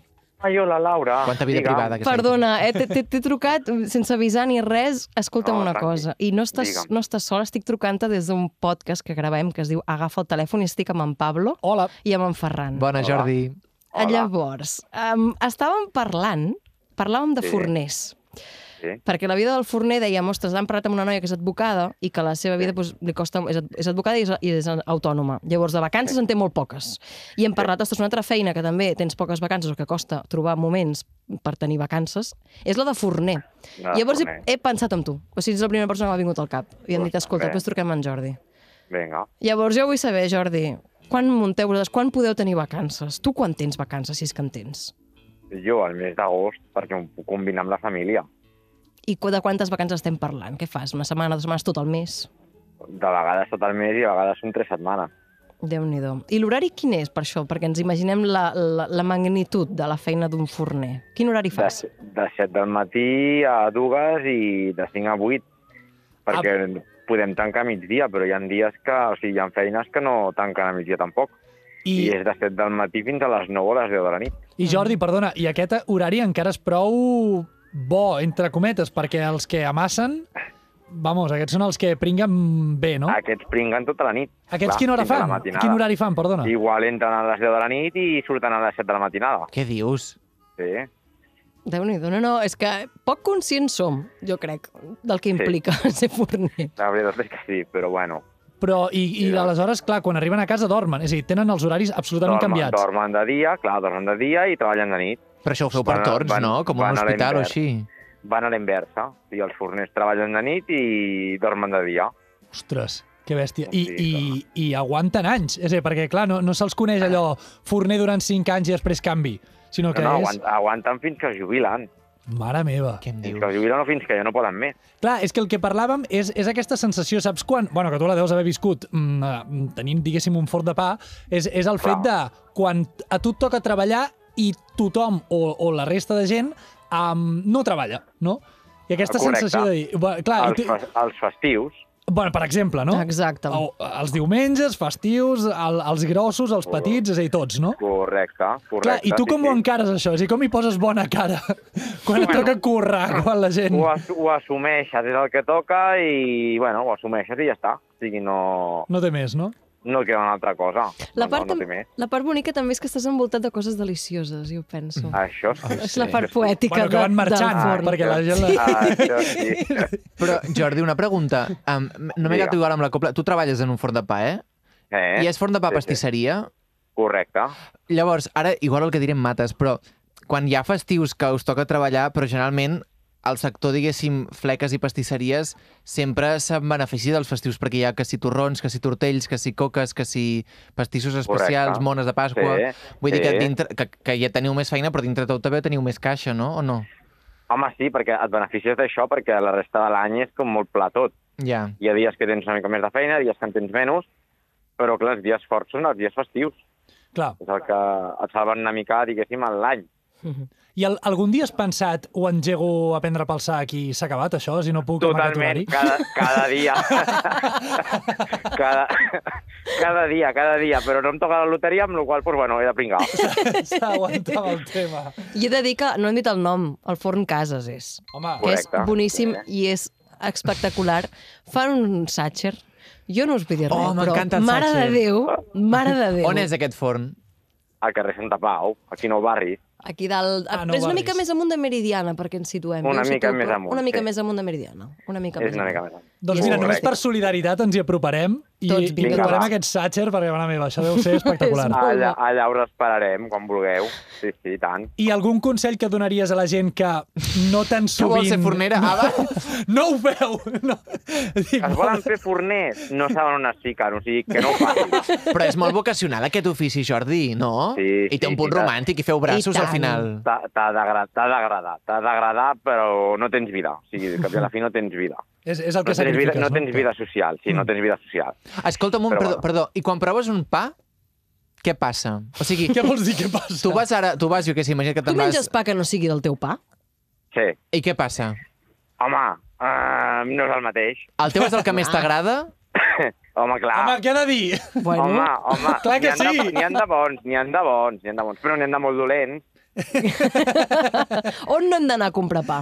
Ai, hola, Laura.
Quanta vida
Digue.
privada. que s'ha dit.
Perdona, eh, t'he- t'he- t'he trucat sense avisar ni res. Escolta'm
No,
una
tranqui.
cosa, i no estàs,
Digue'm.
no estàs sola, estic trucant-te des d'un podcast que gravem que es diu Agafa el telèfon i estic amb en Pablo
Hola.
i amb en Ferran.
Bona, Jordi.
Hola. Eh, Llavors, um, estàvem parlant, parlàvem de
Sí.
forners.
Sí.
Perquè la vida del forner, dèiem, ostres, han parlat amb una noia que és advocada i que la seva vida doncs, li costa, és, ad- és advocada i és, i és autònoma. Llavors, de vacances en té molt poques. I hem parlat, ostres, una altra feina que també tens poques vacances o que costa trobar moments per tenir vacances, és la de forner.
La de
Llavors,
forner.
He, he pensat en tu. O sigui, ets la primera persona que m'ha vingut al cap. I hem dit,
Ostres,
escolta,
bé.
després truquem a en Jordi.
Vinga.
Llavors, jo vull saber, Jordi, quan munteu vosaltres, quan podeu tenir vacances? Tu quan tens vacances, si és que en tens?
Jo, al mes d'agost, perquè ho puc combinar amb la família.
I qu- de quantes vacances estem parlant? Què fas? Una setmana, dues setmanes, tot el mes?
De vegades tot el mes i a vegades són tres setmanes.
déu nhi I l'horari quin és per això? Perquè ens imaginem la, la, la magnitud de la feina d'un forner. Quin horari
De,
fas?
de set del matí a dues i de cinc a vuit. Perquè
Ah.
podem tancar a migdia, però hi ha dies que... O sigui, hi ha feines que no tanquen a migdia tampoc. I, I
I,
és de set del matí fins a les 9 o les 10 de la nit.
I Jordi, perdona, i aquest horari encara és prou bo, entre cometes, perquè els que amassen, vamos, aquests són els que pringuen bé, no?
Aquests pringuen tota la nit.
Aquests
Clar,
quina hora
fins a la
fan?
matinada.
Quin horari fan, perdona?
Igual entren a les 10 de la nit i surten a les 7 de la matinada.
Què dius?
Sí.
déu nhi No, no, és que poc conscients som, jo crec, del que
Sí.
implica ser forner.
La veritat és que sí, però bueno.
Però, i, i aleshores, clar, quan arriben a casa dormen, és a dir, tenen els horaris absolutament canviats.
dormen de dia, clar, dormen de dia i treballen de nit.
Però això ho feu per
Van a-
torns,
van-
no? Com un
van a
hospital o
l'invern.
així.
Van a la inversa. I els forners treballen de nit i dormen de dia.
Ostres, que bèstia. I,
Sí,
i, i aguanten anys, és a dir, perquè, clar, no, no se'ls coneix allò forner durant 5 anys i després canvi, sinó que
no, no,
és...
aguant, aguanten fins que es jubilen.
Mare meva.
Què em
Fins que es
dius?
jubilen o fins que ja no poden més.
Clar, és que el que parlàvem és, és aquesta sensació, saps quan? Bueno, que tu la deus haver viscut mm, eh, tenint, diguéssim, un forn de pa, és, és el fet de quan a tu et toca treballar i tothom o, o la resta de gent um, no treballa, no? I aquesta
Correcte.
sensació de dir... Bueno, clar, Ah, i
Els,
tu,
fe els festius,
bueno, per exemple, no?
Exacte.
O, els diumenges, festius, el, els grossos, els petits, és a dir, tots, no?
correcte, correcte.
Clar, i tu com
sí,
ho
sí.
encares, això? És a dir, com hi poses bona cara quan et
Bueno.
toca currar, quan la gent...
Ho, as ho assumeixes, és el que toca i, bueno, ho assumeixes i ja està. O sigui, no,
No té més, no?
no queda una altra cosa.
La
No,
part,
no, no
tam-
té més.
la part bonica també és que estàs envoltat de coses delicioses, jo penso.
Això Ah, sí.
és la part poètica
Bueno, que van
de,
marxant,
del forn.
perquè la gent... La...
Ah, això sí.
Però, Jordi, una pregunta. Um, no m'he
Digue.
quedat igual amb la copla. Tu treballes en un forn de pa, eh?
Eh?
I és forn de pa
Sí, sí.
pastisseria?
Correcte.
Llavors, ara igual el que diré em mates, però quan hi ha festius que us toca treballar, però generalment el sector, diguéssim, fleques i pastisseries sempre se'n beneficia dels festius, perquè hi ha que si torrons, que si tortells, que si coques, que si pastissos especials,
Correcte.
mones de Pasqua...
Sí,
Vull dir que,
sí.
dintre, que, que ja teniu més feina, però dintre tot també teniu més caixa, no? O no?
Home, sí, perquè et beneficies d'això perquè la resta de l'any és com molt pla tot.
Ja.
Hi ha dies que tens una mica més de feina, dies que en tens menys, però clar, els dies forts són els dies festius.
Clar.
És el que et salven una mica, diguéssim, en l'any.
I al, algun dia has pensat ho engego a prendre pel sac i s'ha acabat això, si no puc amb aquest
Totalment,
horari?
cada, cada dia. cada, cada dia, cada dia. Però no em toca la loteria, amb la qual cosa, pues, bueno, he de pringar.
S'ha aguantat el tema.
I he de dir que no hem dit el nom, el forn Cases és.
Home,
que
Correcte.
és boníssim i és espectacular. Fan un Satcher. Jo no us vull dir res,
Oh,
però
m'encanta el
mare
Sàcher.
de Déu, mare de Déu.
On és aquest forn?
Al carrer Santa Pau, aquí no barri.
Aquí dalt.
Ah,
Ah,
no
no és una
barris.
mica més amunt de Meridiana, perquè ens situem.
Una
Jo em
mica
situo,
més
però
amunt,
Una mica
sí.
més amunt de Meridiana. Una mica
És
més
una
amunt.
mica més. alt.
doncs mira, només
Correcte.
per solidaritat ens hi aproparem I,
Tots
i
vinga,
trobarem
va.
aquests Satcher perquè, bona meva, això deu ser espectacular.
És
Allà, allà us esperarem, quan vulgueu. Sí, sí, i tant.
I algun consell que donaries a la gent que no tan
Que
sovint...
vol ser fornera, Ah, Ada?
No ho veu! No. Dic,
Es volen fer forners? No saben on es fiquen, o sigui, que no ho facin.
Però és molt vocacional aquest ofici, Jordi, no?
Sí,
I té un
sí,
punt
i tant.
romàntic i feu braços
I
al
tant.
final.
T'ha t'ha d'agra- t'ha d'agradar, t'ha d'agradar, però no tens vida. O sigui, que a la fi no tens vida.
és, és el
No
que
tens vida,
sacrifiques, Mm.
no tens vida social, sí, no tens vida social.
Escolta'm, un,
Però
perdó,
bueno.
perdó, i quan proves un pa, què passa? O sigui,
Què vols dir? Què passa?
tu vas ara, tu vas, jo que sé, imagina't que
Tu
te'n vas...
menges pa que no sigui del teu pa?
Sí,
I què passa?
home, uh, no és el mateix.
El teu és el que
Ah.
més t'agrada?
Home, clar.
Home, què he de dir?
Bueno,
Home, home,
Clar que
n'hi han de-
sí.
N'hi han de bons, n'hi han de bons, n'hi han de bons, però n'hi han de molt dolents.
on no hem d'anar a comprar pa?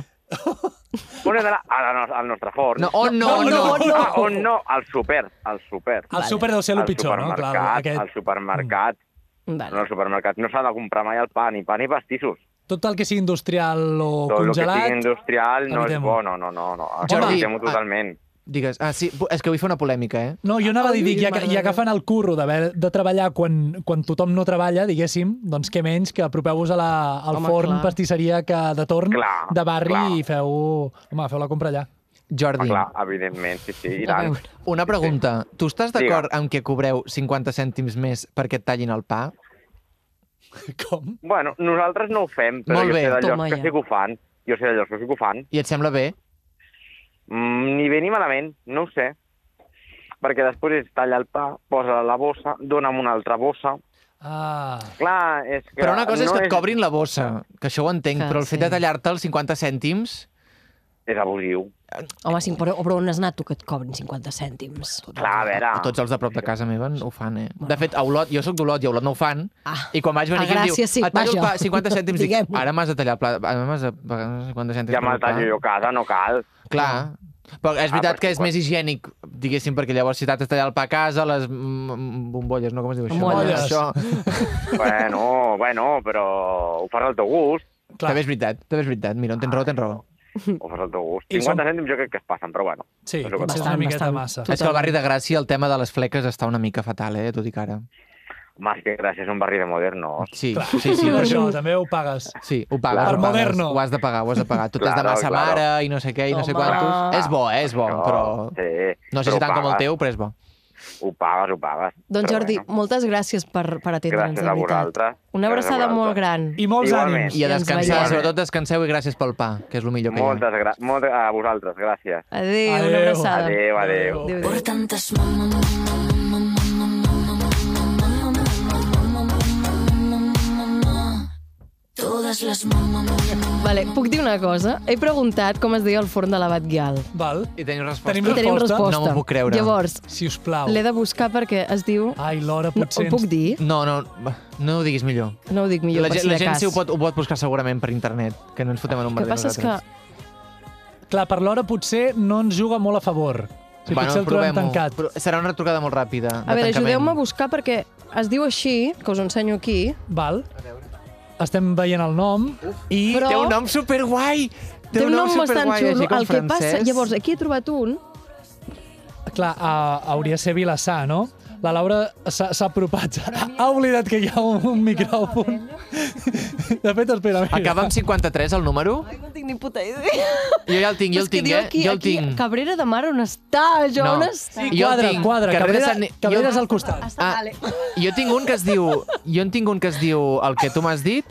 On és la, a la, no- al nostre forn.
No, on no, on no.
Oh, no, no.
Ah, on no, al súper, al súper.
El súper deu ser el
Al
pitjor, no?
supermercat,
Clar,
Al
aquest, Mm.
supermercat, no,
Vale.
al supermercat no s'ha de comprar mai el pa, ni pa ni pastissos.
tot el que sigui industrial o
Tot el que sigui
congelat...
industrial no és
evitem-ho.
bo, no, no, no. no.
Jordi,
Evitemo
ah,
totalment.
Digues, ah, sí, bu- és que vull fer una polèmica, eh?
No, jo anava a dir, dic, ja,
Ai, mare
ja
meva.
agafen el curro d'haver de treballar quan, quan tothom no treballa, diguéssim, doncs què menys que apropeu-vos a la, al
Home,
home, forn,
clar.
clar. pastisseria que de torn,
Clar,
de barri,
clar.
i feu, home, feu la compra allà.
Ah,
Jordi,
clar, evidentment, sí, sí, i
A
tant.
veure.
una pregunta. Tu estàs
Digue.
d'acord amb que cobreu 50 cèntims més perquè et tallin el pa?
Com?
Bueno, nosaltres no ho fem, però
Molt
jo
bé,
sé de
toma
llocs que
ja.
sí que ho fan. Jo sé de llocs que sí que ho fan.
I et sembla bé?
Mm, ni bé ni malament, no ho sé. Perquè després es talla el pa, posa la bossa, dona'm una altra bossa.
Ah,
Clar, és que...
Però una cosa és
no
que et cobrin la bossa, que això ho entenc,
Clar,
però el fet
sí.
de tallar-te els 50 cèntims...
És abusiu.
Home, cinc, però, però on has anat tu que et cobrin 50 cèntims?
Clar, a veure...
Tots els de prop
Ah.
de casa meva ho fan, eh? De fet, a Olot, jo sóc d'Olot i a Olot no ho fan,
Ah.
i quan vaig
A
venir aquí em diu,
Gràcia sí,
et tallo el
vaja.
pa, 50 cèntims, dic,
Diguem-ho.
ara m'has de tallar el pla, ara m'has de pagar 50 cèntims.
Ja
per
me'l
el pa."
tallo jo Ah, a casa, no cal.
Clar, però és veritat
però
que és
sí,
més higiènic, diguéssim, perquè llavors si t'has de tallar el pa a casa, les mm, mm, bombolles, no? Com es diu això?
Bombolles.
Això...
Bueno, bueno, però ho fas al teu gust.
clar.
També és veritat, també és veritat. Mira, on tens raó, tens raó.
Ho fas al teu gust.
I som-
50 cèntims jo crec que es passen, però bueno.
Sí,
És el que
potser és
toca.
una miqueta
Bastant,
massa.
bastant.
És que al barri de Gràcia el tema de les fleques està una mica fatal, eh? Tot i que ara...
Más que gràcies a un barri de modernos.
Sí,
Clar.
sí, sí.
Per
Per
això
això...
també ho pagues.
Sí, ho pagues,
Per
ho pagues.
moderno.
Ho has de pagar, ho has de pagar. Tot és de
Claro,
massa
claro.
mare i no sé què i no sé
Home.
quantos. És bo, eh? És bo, però...
Sí,
No sé si
però ho
tant com el
pagues,
teu, però és bo.
Ho pagues, ho pagues.
Doncs
Però
Jordi,
bueno,
moltes gràcies per, per atendre'ns,
gràcies
de
a
veritat.
vosaltres.
Una
Gràcies a
abraçada
vosaltres.
molt gran.
I molts
Igualment.
ànims.
I a
I ens
descansar,
veiem.
sobretot descanseu i gràcies pel pa, que és el millor que hi ha.
Moltes gra... molt... a vosaltres, gràcies.
Adéu, una
Adéu.
abraçada.
Adéu, adéu.
Adéu.
Adéu, adéu.
Por tantas mamá, mamá, mamá, mamá, mamá, mamá, mamá, todas las mamá, mamá.
Vale, puc dir una cosa? He preguntat com es deia el forn de l'abat Guial.
Val.
I teniu resposta.
Tenim
I tenim
Resposta?
resposta.
No m'ho puc creure. Ah,
Llavors,
Si us plau.
l'he de buscar perquè es diu...
Ai, l'hora
No,
potser...
ho puc
ens-
dir?
No, no, no ho diguis millor.
No ho dic millor,
la
per
gent,
si
la
de
gent
cas.
sí ho pot, ho pot buscar segurament per internet, que no ens fotem en un
El que
merder
passa és que...
nosaltres.
Clar, per l'hora potser no ens juga molt a favor. Si potser el trobem
provem-ho.
tancat.
Però Serà una trucada molt ràpida.
A veure, ajudeu-me a buscar perquè es diu així, que us ho ensenyo aquí,
Val. Estem veient el nom i...
Però-
Té un nom superguai!
Té un nom bastant
superguai,
xulo.
així com
El que passa...
francès.
Llavors, eh, aquí he trobat un...
Clar, a, hauria de ser Vilassar, no? La Laura s'ha s'ha apropat. Ha oblidat que hi ha un, un micròfon.
eh,
De fet, espera, mira.
Acaba amb 53, el número?
No tinc ni puta idea.
Jo ja el tinc, jo el tinc, eh?
Aquí,
jo el
aquí,
tinc.
Cabrera de Mar, on està? Jo,
No.
on està?
Jo el
quadra,
tinc.
quadra.
Carrer de
Cabrera,
Sant Ni-
Cabrera
jo-
és al costat.
Està, vale.
Ah, Jo tinc un que es diu... Jo en tinc un que es diu el que tu m'has dit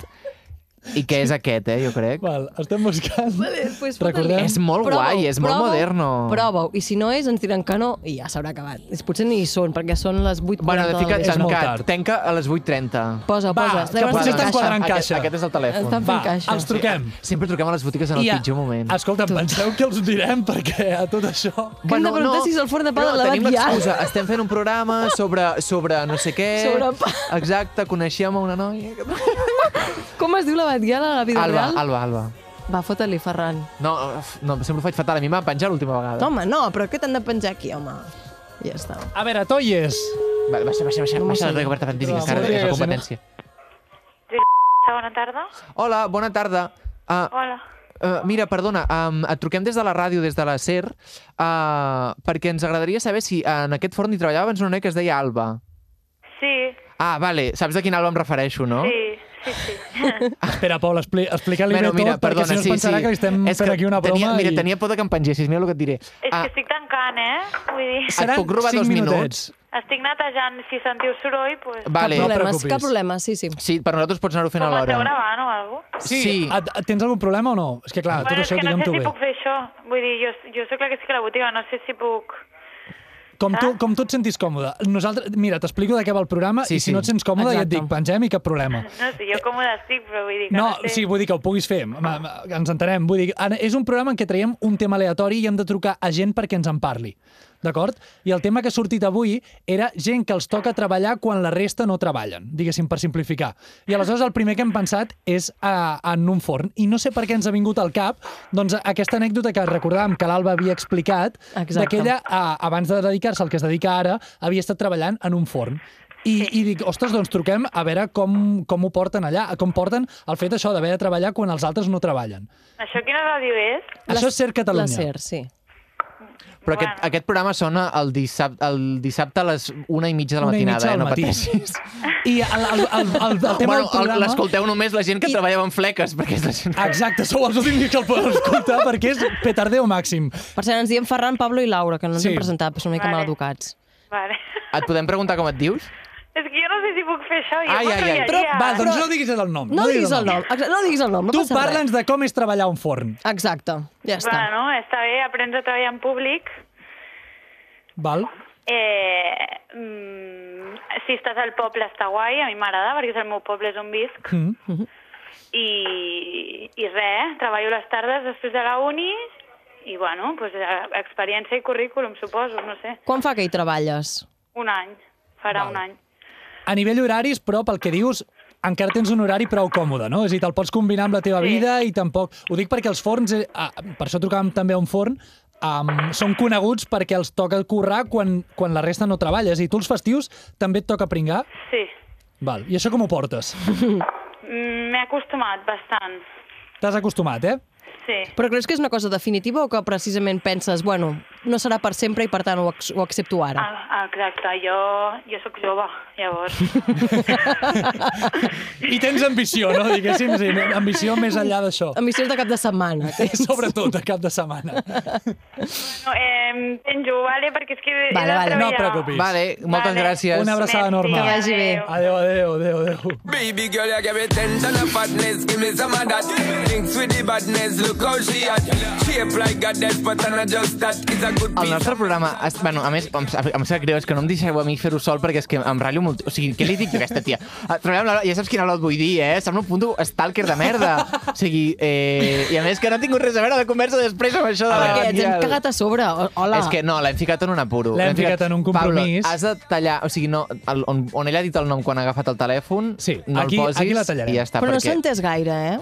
i que és aquest, eh, jo crec.
Val, estem buscant.
Vale, després
Recordem-
fotem-li.
És molt guai, és molt moderno.
Prova-ho, i si no és, ens diran que no i ja s'haurà acabat. És- Potser ni hi són, perquè són les 8.40
Bueno, de fica
del
tant.
vespre.
molt
tancat.
tard.
Tanca a les 8.30.
Posa,
Va,
posa. Llavors
que potser
ens
estan
encaixa.
quadrant
Aquest-
caixa.
Aquest és el telèfon.
Estan fent
Va,
caixa.
els truquem.
Sempre truquem a les botigues en el
I a-
pitjor moment.
Escolta, penseu que els ho direm, perquè a tot això...
Que hem de preguntar si és el forn de pa
no,
de la
tenim
Batllà.
l'excusa. Estem fent un programa sobre, sobre no sé què.
Sobre pa.
Exacte, coneixíem a una noia. que-
Com es diu la batguiala a la vida
Alba,
real?
Alba, Alba.
Va, fot-li, Ferran.
No, uf, no, sempre ho faig fatal. A mi em va penjar l'última vegada.
Home, no, però què t'han de penjar aquí, home? Ja està.
A veure, Toies.
Va, baixa, baixa, baixa.
No m'ho
baixa la
sé.
Roberta Fantísica,
Però,
encara és
sí,
la
no.
competència.
Bona tarda.
Hola, bona tarda. Ah,
Hola.
Uh, mira, perdona, um, et truquem des de la ràdio, des de la SER, uh, perquè ens agradaria saber si en aquest forn hi treballava abans una noia que es deia Alba.
Sí,
Ah, vale, saps de quin Alba em refereixo, no?
sí, sí, sí.
Espera, Paul, expli explica-li bueno, bé tot, perquè si no es pensarà que li estem
És
fent aquí una broma.
Tenia, mira,
i...
tenia por de que em pengessis, mira el que et diré. Ah,
És que estic tancant, eh? Vull dir,
et puc robar
cinc
dos minuts?
minutets.
estic netejant, si sentiu soroll, doncs... Pues,
vale.
Cap problema,
preocupis.
cap problema, sí, sí.
Sí, per nosaltres pots anar-ho fent a
Com esteu
l'hora.
gravant o alguna cosa?
Sí.
Et, et- tens algun problema o no? És que clar,
Bueno,
tot
és
això
que no sé si
diguem-t'ho bé.
puc fer això. Vull dir, jo, jo sóc la que estic a la botiga, no sé si puc...
Com, tu,
Ah.
com tu et sentis còmode. Nosaltres, mira, t'explico de què va el programa
Sí,
i si
sí.
no et sents còmode ja et
Exacte.
dic, pengem i cap problema.
No sé, jo còmode estic, però vull dir que...
No,
sé.
sí, vull dir que ho puguis fer, ma, ma, ens entenem. Vull dir, ara és un programa en què traiem un tema aleatori i hem de trucar a gent perquè ens en parli, d'acord? I el tema que ha sortit avui era gent que els toca treballar quan la resta no treballen, diguéssim, per simplificar. I aleshores el primer que hem pensat és a, en un forn. I no sé per què ens ha vingut al cap doncs, aquesta anècdota que recordàvem que l'Alba havia explicat,
Exacte.
d'aquella a, abans de dedicar-se al que es dedica ara, havia estat treballant en un forn. I, I dic, ostres, doncs truquem a veure com, com ho porten allà, com porten el fet això d'haver de treballar quan els altres no treballen.
Això quina ràdio és?
Això és Ser Catalunya.
La SER, sí.
Però aquest,
Bueno.
aquest programa sona el dissabte, el dissabte a les una i mitja de la
Una i
matinada,
mitja
eh?
del
no
matí.
pateixis.
I el, el, el, el, el tema
Bueno,
del programa...
l'escolteu només la gent que treballava amb fleques, perquè és la gent...
Exacte, sou els últims que el podeu escoltar perquè és petardeo màxim.
Per cert, ens diem Ferran, Pablo i Laura, que no ens
Sí.
hem presentat, però som una mica
Vale.
mal educats.
Vale.
Et podem preguntar com et dius?
és que jo no sé si puc fer això, jo
Ai,
m'ho
ai, ai.
creia.
Però,
Va, doncs
Però-
no diguis el nom.
No, diguis el nom, exa- no diguis el nom, no
Tu
passa
parla'ns de com és treballar a un forn,
res. Exacte, ja està.
Bueno, està bé, aprens a treballar en públic.
val?
Eh, mm, si estàs al poble està guai, a mi m'agrada, perquè és el meu poble, és on visc.
Mm.
I, i res, eh? treballo les tardes després de la uni i, bueno, pues, eh, experiència i currículum, suposo, no sé.
Quan fa que hi treballes?
Un any, farà un any.
A nivell horaris, però, pel que dius, encara tens un horari prou còmode, no? És a dir, te'l pots combinar amb la teva
Sí.
vida i tampoc... Ho dic perquè els forns... Eh, ah, per això trucàvem també a un forn, um, són coneguts perquè els toca currar quan, quan la resta no treballes. I tu els festius també et toca pringar?
Sí,
Val. I això com ho portes?
Mm, m'he acostumat bastant,
T'has acostumat, eh?
sí.
Però creus que és una cosa definitiva o que precisament penses, bueno, no serà per sempre i per tant ho, ac ho accepto ara?
Ah, ah, exacte, jo, jo sóc jove, llavors.
I tens ambició, no? Diguéssim, sí, ambició més enllà d'això.
Emissions de cap de setmana.
Sobretot a cap de setmana.
No, eh, penjo, vale? Perquè és que he de
Vale, vale.
No
treballar.
et preocupis.
Vale, moltes
Vale.
gràcies.
Una abraçada
Merci,
enorme.
Que vagi bé.
adéu.
Adéu, adéu, adéu, adéu.
Baby girl, you give me ten ton of fatness, give me some of that. Links with the badness, look how she at. Shape like a death, but I'm not just that. It's a good
El
piece
nostre programa... Es, bueno, a més, em, em sap greu, és que no em deixeu a mi fer-ho sol perquè és que em ratllo molt... O sigui, què li dic jo a aquesta tia? Ah, Treballem la... Ja saps quina hora et vull dir, eh? Sembla un punto stalker de merda. O sigui, eh... I a més que no ha tingut res a veure de conversa després amb això de la...
Perquè ens
tia.
hem cagat a sobre. O- Hola.
És que no, l'hem ficat en un apuro.
L'hem ficat en un compromís.
Pablo, has de tallar... O sigui, no, el, on, on ella ha dit el nom quan ha agafat el telèfon,
Sí,
no
aquí-
el posis
aquí la tallarem.
i ja està.
Però no
perquè...
s'ha entès gaire, eh?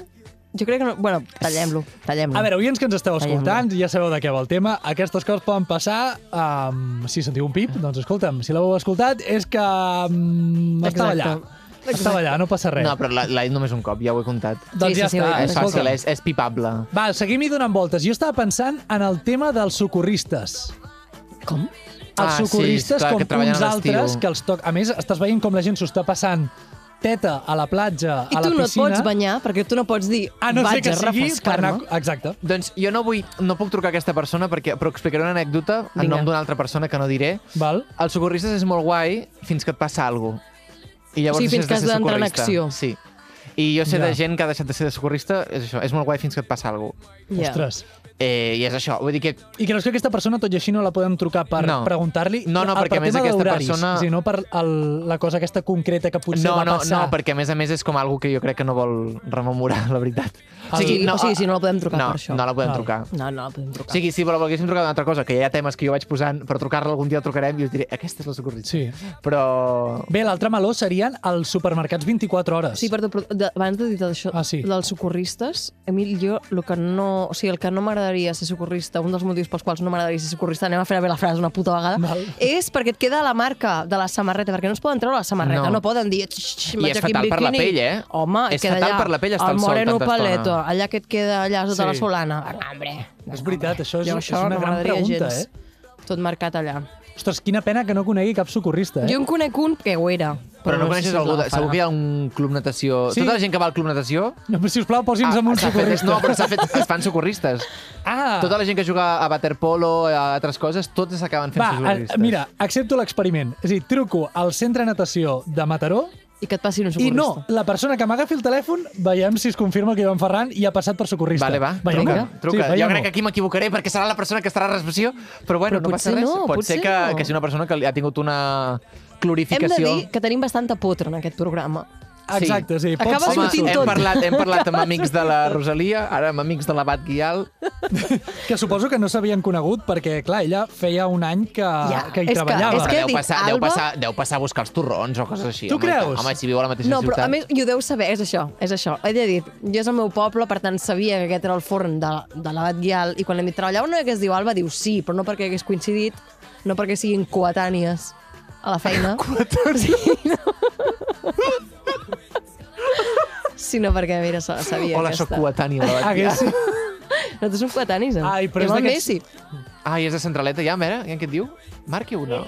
Jo crec que no... Bueno, tallem-lo, tallem-lo.
A veure, oients que ens esteu
Veiem-ho.
escoltant, ja sabeu de què va el tema. Aquestes coses poden passar... Um, si sentiu un pip, doncs escolta'm, si l'heu escoltat és que... Um, estava allà.
Exacte.
Estava allà, no passa res.
No, però l'ha dit només un cop, ja ho he comptat.
Doncs
Sí,
ja
sí, sí,
està.
ho he escolta.
és fàcil,
escolta'm.
és, és pipable.
Va, seguim-hi donant voltes. Jo estava pensant en el tema dels socorristes.
Com?
Els
Ah, sí,
socorristes
clar, que
com
treballen
uns
a l'estiu.
altres que els toc... A més, estàs veient com la gent s'ho està passant teta a la platja,
I
a la
tu no et
piscina...
pots banyar perquè tu no pots dir
a no ser
vaig
que
a
sigui per anar...
refrescar-me.
Exacte.
Doncs jo no vull, no puc trucar a aquesta persona, perquè, però explicaré una anècdota en
Vinga.
nom d'una altra persona que no diré.
Val?
Els socorristes és molt guai fins que et passa alguna cosa. I llavors
O sigui, fins
deixes
que has
de ser
d'entrar en
socorrista.
acció.
Sí. I jo sé
Ja.
de gent que ha deixat de ser de socorrista, és això, és molt guai fins que et passa alguna cosa.
Ja.
Ostres.
Eh, I és això, vull dir que
I creus que aquesta persona, tot i així, no la podem trucar per
No.
preguntar-li?
No, no,
El-
perquè a
per
més
tema
aquesta
d'horaris,
persona-
És a dir, no per el, la cosa aquesta concreta que potser
no,
va
no,
passar.
no, perquè a més a més és com algo que jo crec que no vol rememorar, la veritat.
O sigui, o sigui, si no ah. la podem trucar
no,
per això.
No la podem
Val.
trucar.
No, no la podem
O
trucar.
sigui, si vol- volguéssim trucar d'una altra cosa, que ja hi ha temes que jo vaig posant, per trucar-la algun dia el trucarem i us diré, aquesta és la socorrista.
Sí.
Però...
Bé, l'altre meló serien els supermercats 24 hores.
Sí, per de, de de, abans de dir això,
Ah, sí.
dels socorristes, a mi jo el que no... O sigui, el que no m'agradaria ser socorrista, un dels motius pels quals no m'agradaria ser socorrista, anem a fer bé la frase una puta vegada,
Val.
és perquè et queda la marca de la samarreta, perquè no es poden treure la samarreta,
No.
no, poden dir... "Xx, xx,
I
vaig
és
aquí en
fatal per la
biquini".
pell, eh?
Home, et
És
queda
fatal
allà,
per la pell estar al
el
sol
moreno
tanta estona.
paleto, allà que et queda allà sota
Sí.
la solana. Venga, hombre. Venga,
veritat,
hombre.
això és-
Jo
és una
no
gran
m'agradaria
pregunta,
gens.
eh?
Tot marcat allà.
Ostres, quina pena que no conegui cap socorrista, eh?
Jo en conec un que ho era.
Però no
sé
coneixes
si
algú... De...
l'agafarà.
Segur que hi ha un club natació...
Sí.
Tota la gent que va al club natació...
No, però, sisplau, posi'ns amb un
Ah, s'ha fet,
socorrista.
no, però s'ha fet, es fan socorristes.
Ah!
Tota la gent que juga a waterpolo, a altres coses, tots s'acaben fent
Va,
socorristes.
eh,
a- mira, accepto l'experiment. És a dir, truco al centre de natació de Mataró
I que et passin un
i
socorrista.
no, la persona que m'agafi el telèfon, veiem si es confirma que jo en Ferran i ha passat per socorrista.
Vale, va,
Veiem-ho.
truca, truca.
Sí,
jo
veiem-ho.
crec que aquí m'equivocaré perquè serà la persona que estarà a la recepció, però bueno,
Però
no passa
potser
res.
no,
Pot
potser
ser que,
no.
que sigui una persona que li ha tingut una
Hem de
glorificació.
dir que tenim bastanta potra en aquest programa.
Exacte, sí.
Acaba
pot ser
Home,
sortint
hem
tot.
parlat, hem parlat amb amics de la Rosalia, ara amb amics de l'abat Guial.
Que suposo que no s'havien conegut perquè, clar, ella feia un any que,
Ja,
que hi
és que-
treballava.
és que-
deu,
he dit,
passar, deu,
Alba-
passar, deu passar a buscar els torrons o coses així.
Tu
home, i tant.
creus?
Home, si viu a la mateixa
No,
ciutat.
però a més, i ho deu saber, és això, és això. Ella ha dit, jo és el meu poble, per tant sabia que aquest era el forn de, de l'abat Guial, i quan l'hem dit, treballava una que es diu Alba, diu sí, però no perquè hagués coincidit, no perquè siguin coetànies a la feina. Coetànies? Sí, no. sinó perquè, mira, sa- sabia
Hola, sóc
aquesta.
coetània de l'abat
Hagués...
Guial.
Nosaltres som coetanis, eh?
Ai, però és
Igual
d'aquests-
Messi.
Ai, és de centraleta ja, mira, ja què et diu? Marqui una.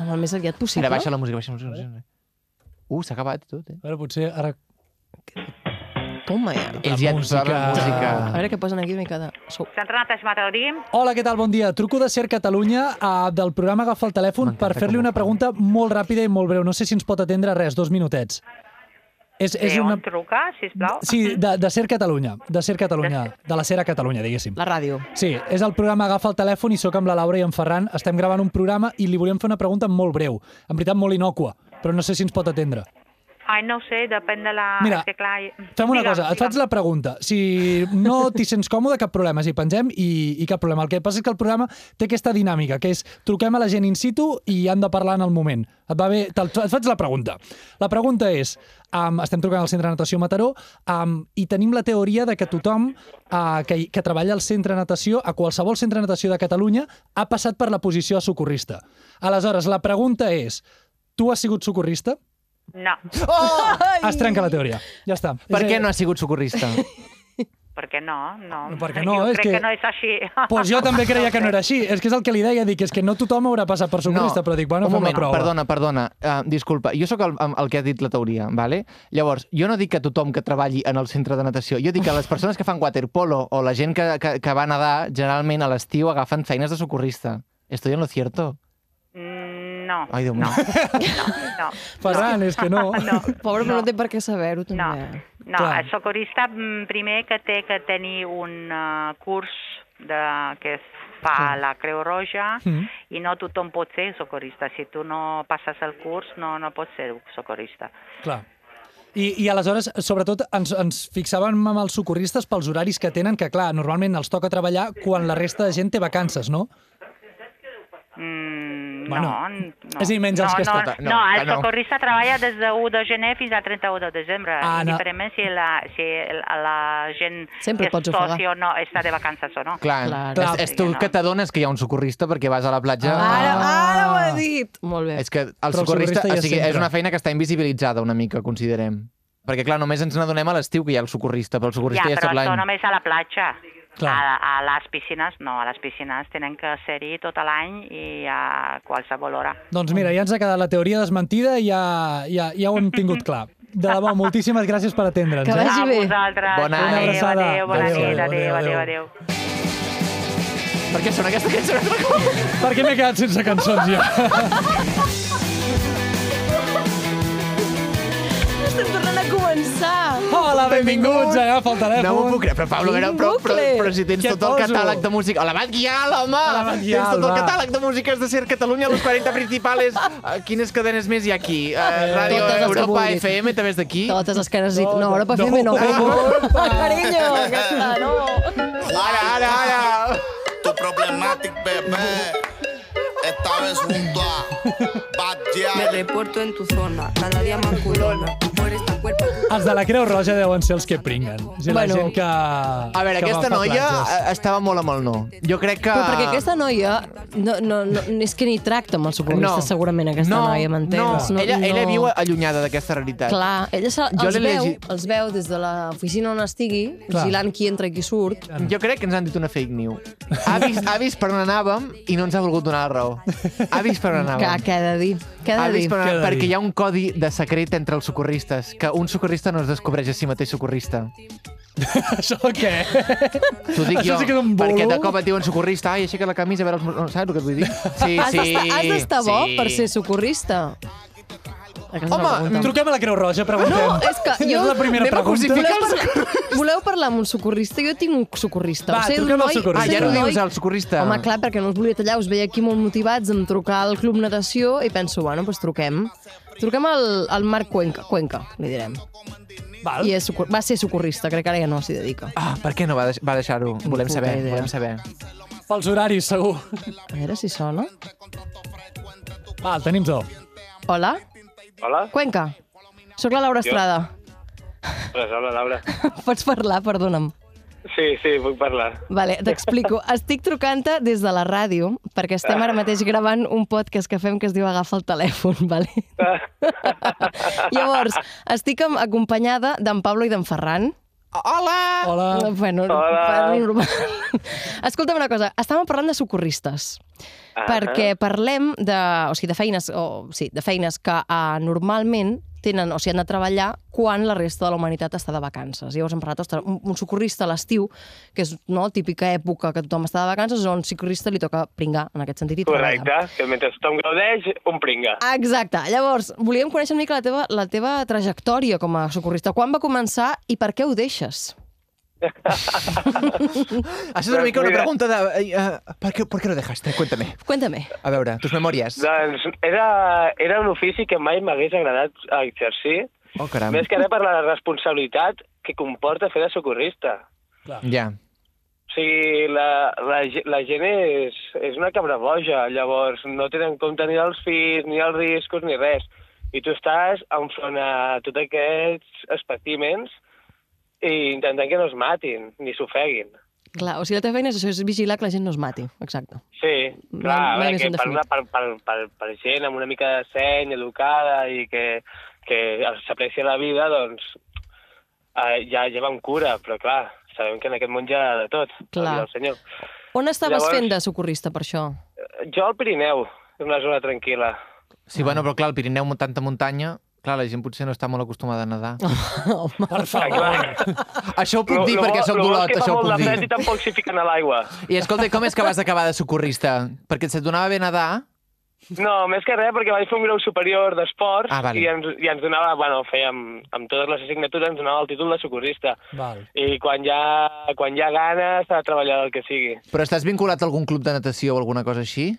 Amb el més aviat possible.
Ara baixa la música, baixa la música. baixa la música. Uh, s'ha acabat tot, eh?
A veure, potser ara...
Oh my God.
Ells ja
música.
posaven música.
A veure què posen aquí una mica de... Sou...
S'ha entrenat a Xmataorí.
Hola, què tal? Bon dia. Truco de Ser Catalunya eh, del programa Agafa el telèfon per
M'encanta
fer-li
com ho
una
fa.
pregunta molt ràpida i molt breu. No sé si ens pot atendre res, dos minutets. És, és
Bé,
una...
on truca, sisplau?
Sí, de, de Ser Catalunya, de Ser Catalunya, de la Ser a Catalunya, diguéssim.
La ràdio.
Sí, és el programa Agafa el telèfon i sóc amb la Laura i en Ferran. Estem gravant un programa i li volíem fer una pregunta molt breu, en veritat molt inocua, però no sé si ens pot atendre.
Ai, no ho sé, depèn de la...
Mira,
és que clar...
Fem una
Digue'm,
cosa, et faig
digue'm.
la pregunta. Si no t'hi sents còmode, cap problema, si pengem i, i cap problema. El que passa és que el programa té aquesta dinàmica, que és truquem a la gent in situ i han de parlar en el moment. Et va bé? Te'l- Et faig la pregunta. La pregunta és, um, estem trucant al Centre de Natació Mataró um, i tenim la teoria de que tothom uh, que, hi- que treballa al Centre de Natació, a qualsevol Centre de Natació de Catalunya, ha passat per la posició de socorrista. Aleshores, la pregunta és, tu has sigut socorrista?
No,
Has trencat la teoria. Ja està.
Per
És-
què no has sigut socorrista?
perquè no, no.
Perquè no,
jo
és
crec
que-
que... no és així.
Pues jo també creia que no era així. És que és el que li deia, dic, és que no tothom haurà passat per socorrista, però dic, bueno,
un
fem
moment,
la prova.
perdona, perdona. Uh, disculpa, jo sóc el, el que ha dit la teoria, vale? Llavors, jo no dic que tothom que treballi en el centre de natació, jo dic que les persones que fan waterpolo o la gent que, que, que va a nedar, generalment a l'estiu agafen feines de socorrista. Estoy en lo cierto.
Mm, No.
Ai, Déu meu.
No, no, no.
Ferran, és que no.
no.
Pobre, però
no.
no, té per què saber-ho, també.
No, no
Clar.
el socorista mm, primer que té que tenir un eh, curs de, que es fa a la Creu Roja
Mm.
i no tothom pot ser socorista. Si tu no passes el curs, no, no pots ser socorista.
Clar. I, I aleshores, sobretot, ens, ens fixàvem amb els socorristes pels horaris que tenen, que clar, normalment els toca treballar quan la resta de gent té vacances, no?
Mm,
Bueno,
no, no.
és a dir, menys els
no,
que
no,
escolta,
no,
No, no, el
que no.
socorrista treballa des de 1 de gener fins al 31 de desembre.
Ah,
Ah,
no.
no. Diferentment si la, si la, la gent
Sempre
que
pots
és
ofegar.
soci o no està de vacances o no.
Clar,
Clar.
Clar. És, és tu
Clar.
que t'adones que hi ha un socorrista perquè vas a la platja...
Ara,
Ah.
ara ho ha dit! Molt bé.
És que el
el
socorrista,
socorrista hi
o
és
sigui, és
sempre.
una feina que està invisibilitzada una mica, considerem. Perquè, clar, només ens n'adonem a l'estiu que hi ha el socorrista, però el
Ja,
socorrista ja, és
però
tot l'any.
això només a la platja.
Clar.
A, a les piscines, no, a les piscines tenen que ser-hi tot l'any i a qualsevol hora.
Doncs mira, ja ens ha quedat la teoria desmentida i ja, ja, ja ho hem tingut clar. De debò, moltíssimes gràcies per atendre'ns.
Que
eh?
vagi
a
bé.
vosaltres.
Bona
adéu,
abraçada.
Adéu, bona
Adéu,
nit,
adéu, adéu,
adéu, adéu,
adéu.
adéu.
Per què sona aquesta cançó? un altre cop?
Per què m'he quedat sense cançons ja?
Estem tornant a començar!
Hola, benvinguts, agafa el telèfon.
No m'ho puc creure, però Pablo,
Quin
però, però, però,
bucle!
però si tens
Què
tot el
poso?
catàleg de música... A l'abat Guial, home!
A l'Abat Guial,
tens tot el
va.
catàleg de músiques de Ser Catalunya, los 40 principales. Eh, Quines cadenes més hi ha aquí? Uh, Ràdio
totes les que
Europa,
vulguis.
FM, també és d'aquí?
Totes les cares dit,
No,
no, ara per
no.
fer-me no.
No.
Carinyo, aquesta, no.
Ara, ara, ara!
Tu problematic, bebé. Esta vez junto a Bad Gyal.
Me reporto en tu zona, cada día más culona. Hoy
Els de la Creu Roja deuen ser els que pringuen. És a dir, la
Bueno.
gent que...
A veure,
que va
aquesta
a
noia
platges.
eh, estava molt amb el no. Jo crec que...
Però perquè aquesta noia no, no, no, és que ni tracta amb els socorristes, segurament, aquesta
no,
noia, m'entens?
No, ella, ella viu allunyada d'aquesta realitat.
Clar, ella se,
Jo
els,
l'he
veu,
llegit.
els veu des de l'oficina on estigui,
Clar.
vigilant qui entra i qui surt.
Jo crec que ens han dit una fake news. Ha vist, ha vist per on anàvem i no ens ha volgut donar la raó. Ha vist per on
Que,
anàvem.
què ha de dir? Què ha
Ha
de dir?
Ah, vist per on
Què ha de
anàvem. Perquè
dir?
hi ha un codi de secret entre els socorristes, que un socorrista no es descobreix a si mateix socorrista.
Això què?
T'ho dic
Això
jo,
sí que és un bolo.
perquè de cop et diuen socorrista, ai, aixeca la camisa, a veure els... mus-" No, saps el que et vull dir? Sí,
Has
sí.
d'estar- Has d'estar bo
sí.
per ser socorrista. Aquesta és una
Home,
pregunta.
Truquem a la Creu Roja, preguntem.
Ah, No, és que jo-
És la primera
Anem a
pregunta.
crucificar
Voleu parlar, voleu parlar amb un socorrista? Jo tinc un socorrista.
Va,
O sigui, un
truquem al
noi-
socorrista.
Ah, ja
un
no
noi-
dius al socorrista.
Home, clar, perquè no els volia tallar. Us veia aquí molt motivats em trucar al Club Natació i penso, bueno, doncs truquem. Truquem al, al Marc Cuenca, Cuenca, li direm.
Val.
I és, socor- va ser socorrista, crec que ara ja no s'hi dedica.
Ah, per què no va, deix va deixar-ho? Volem
puta
saber,
idea.
volem saber.
Pels horaris, segur.
A veure si sona.
Va, el tenim tot.
Hola,
Hola?
Cuenca. Sóc la Laura Estrada.
Pues, hola, Laura.
Pots parlar, perdona'm.
Sí, sí, puc parlar.
Vale, t'explico. Estic trucant-te des de la ràdio, perquè estem ara mateix gravant un podcast que fem que es diu Agafa el telèfon, vale? Llavors, estic amb, acompanyada d'en Pablo i d'en Ferran.
Hola!
Hola.
Bueno,
Hola.
parlo normal. Escolta'm una cosa, estàvem parlant de socorristes.
Ah.
Perquè parlem de, o sigui, de feines, o, sí, de feines que uh, normalment tenen, o sigui, han de treballar quan la resta de la humanitat està de vacances. Llavors hem parlat, ostres, un, un socorrista a l'estiu, que és no, típica època que tothom està de vacances, on un socorrista li toca pringar, en aquest sentit. i treballar.
Correcte, que mentre tothom gaudeix, un pringa.
Exacte. Llavors, volíem conèixer una mica la teva, la teva trajectòria com a socorrista. Quan va començar i per què ho deixes?
Això és una
Doncs
mica una
mira.
pregunta de... Uh, per, què, per què lo dejaste? Cuéntame.
Cuéntame.
A veure, tus memòries.
Doncs era, era un ofici que mai m'hagués agradat exercir,
Oh, caram.
més que res per la responsabilitat que comporta fer de socorrista.
Ja.
O sigui, la, la, ge- la gent és, és una cabra boja, llavors no tenen en compte ni els fills, ni els riscos, ni res. I tu estàs enfront a tots aquests espectímens i intentant que no es matin, ni s'ofeguin.
Clar, o sigui, la teva feina és això, és vigilar que la gent no es mati. Exacte.
Sí,
Mai-
clar, a
mai més
veure, que
ben
per,
definit.
una, per, per, per, per gent amb una mica de seny, educada i que, que s'aprecia la vida, doncs eh, ja, ja va amb cura, però clar, sabem que en aquest món ja de tot,
Clar.
el senyor.
On estaves Llavors...
Llavors-
fent de socorrista per això?
Jo al Pirineu, en una zona tranquil·la.
Sí,
Ah.
bueno, però clar, el Pirineu, tanta muntanya... Clar, la gent potser no està molt acostumada a nedar.
Per favor.
Això ho puc dir perquè sóc d'Olot, això ho
molt
puc
de fred
dir.
i tampoc s'hi fiquen a l'aigua.
I escolta, i com és que vas acabar de socorrista? Perquè se't donava bé nedar?
No, més que res, perquè vaig fer un grau superior d'esports
Ah, vale.
i, ens, i ens donava, bueno, fèiem, amb totes les assignatures ens donava el títol de socorrista.
Val.
I quan hi ha, quan hi ha gana, s'ha de treballar del que sigui.
Però estàs vinculat a algun club de natació o alguna cosa així?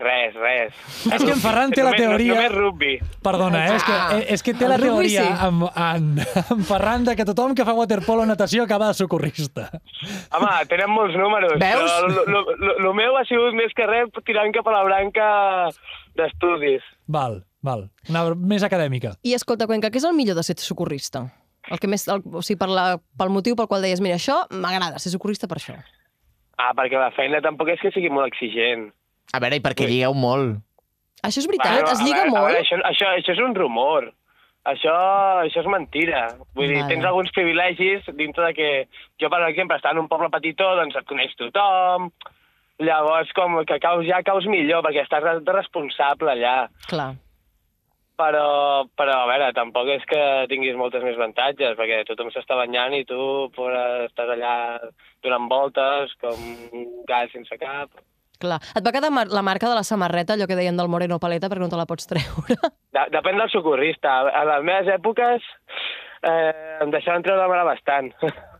Res, res.
És que en Ferran té la
Només-
teoria-
Només rugby.
Perdona, eh? És que, eh, és que té la
Ah. El rugbi
teoria
sí.
amb, en, en Ferran de que tothom que fa waterpolo o natació acaba de socorrista.
Home, tenen molts números.
Veus?
Però el meu ha sigut més que res tirant cap a la branca d'estudis.
Val, val. Una més acadèmica.
I escolta, Cuenca, què és el millor de ser socorrista? El que més, el, o sigui, per la, pel motiu pel qual deies, mira, això m'agrada, ser socorrista per això.
Ah, perquè la feina tampoc és que sigui molt exigent.
A veure, i perquè lligueu molt.
Això és veritat,
Bueno,
Eh, es
a
lliga
veure, a
molt.
Veure, això, això, això és un rumor. Això, això és mentira. Vull dir,
Vale.
tens alguns privilegis dintre de que... Jo, per exemple, estar en un poble petitó, doncs et coneix tothom... Llavors, com que caus ja, caus millor, perquè estàs de- de responsable allà.
Clar.
Però, però, a veure, tampoc és que tinguis moltes més avantatges, perquè tothom s'està banyant i tu pobre, estàs allà donant voltes com un gat sense cap.
Clar. Et va quedar mar la marca de la samarreta, allò que deien del Moreno Paleta, perquè no te la pots treure.
De Depèn del socorrista. A les meves èpoques eh, em deixaven treure la mare bastant.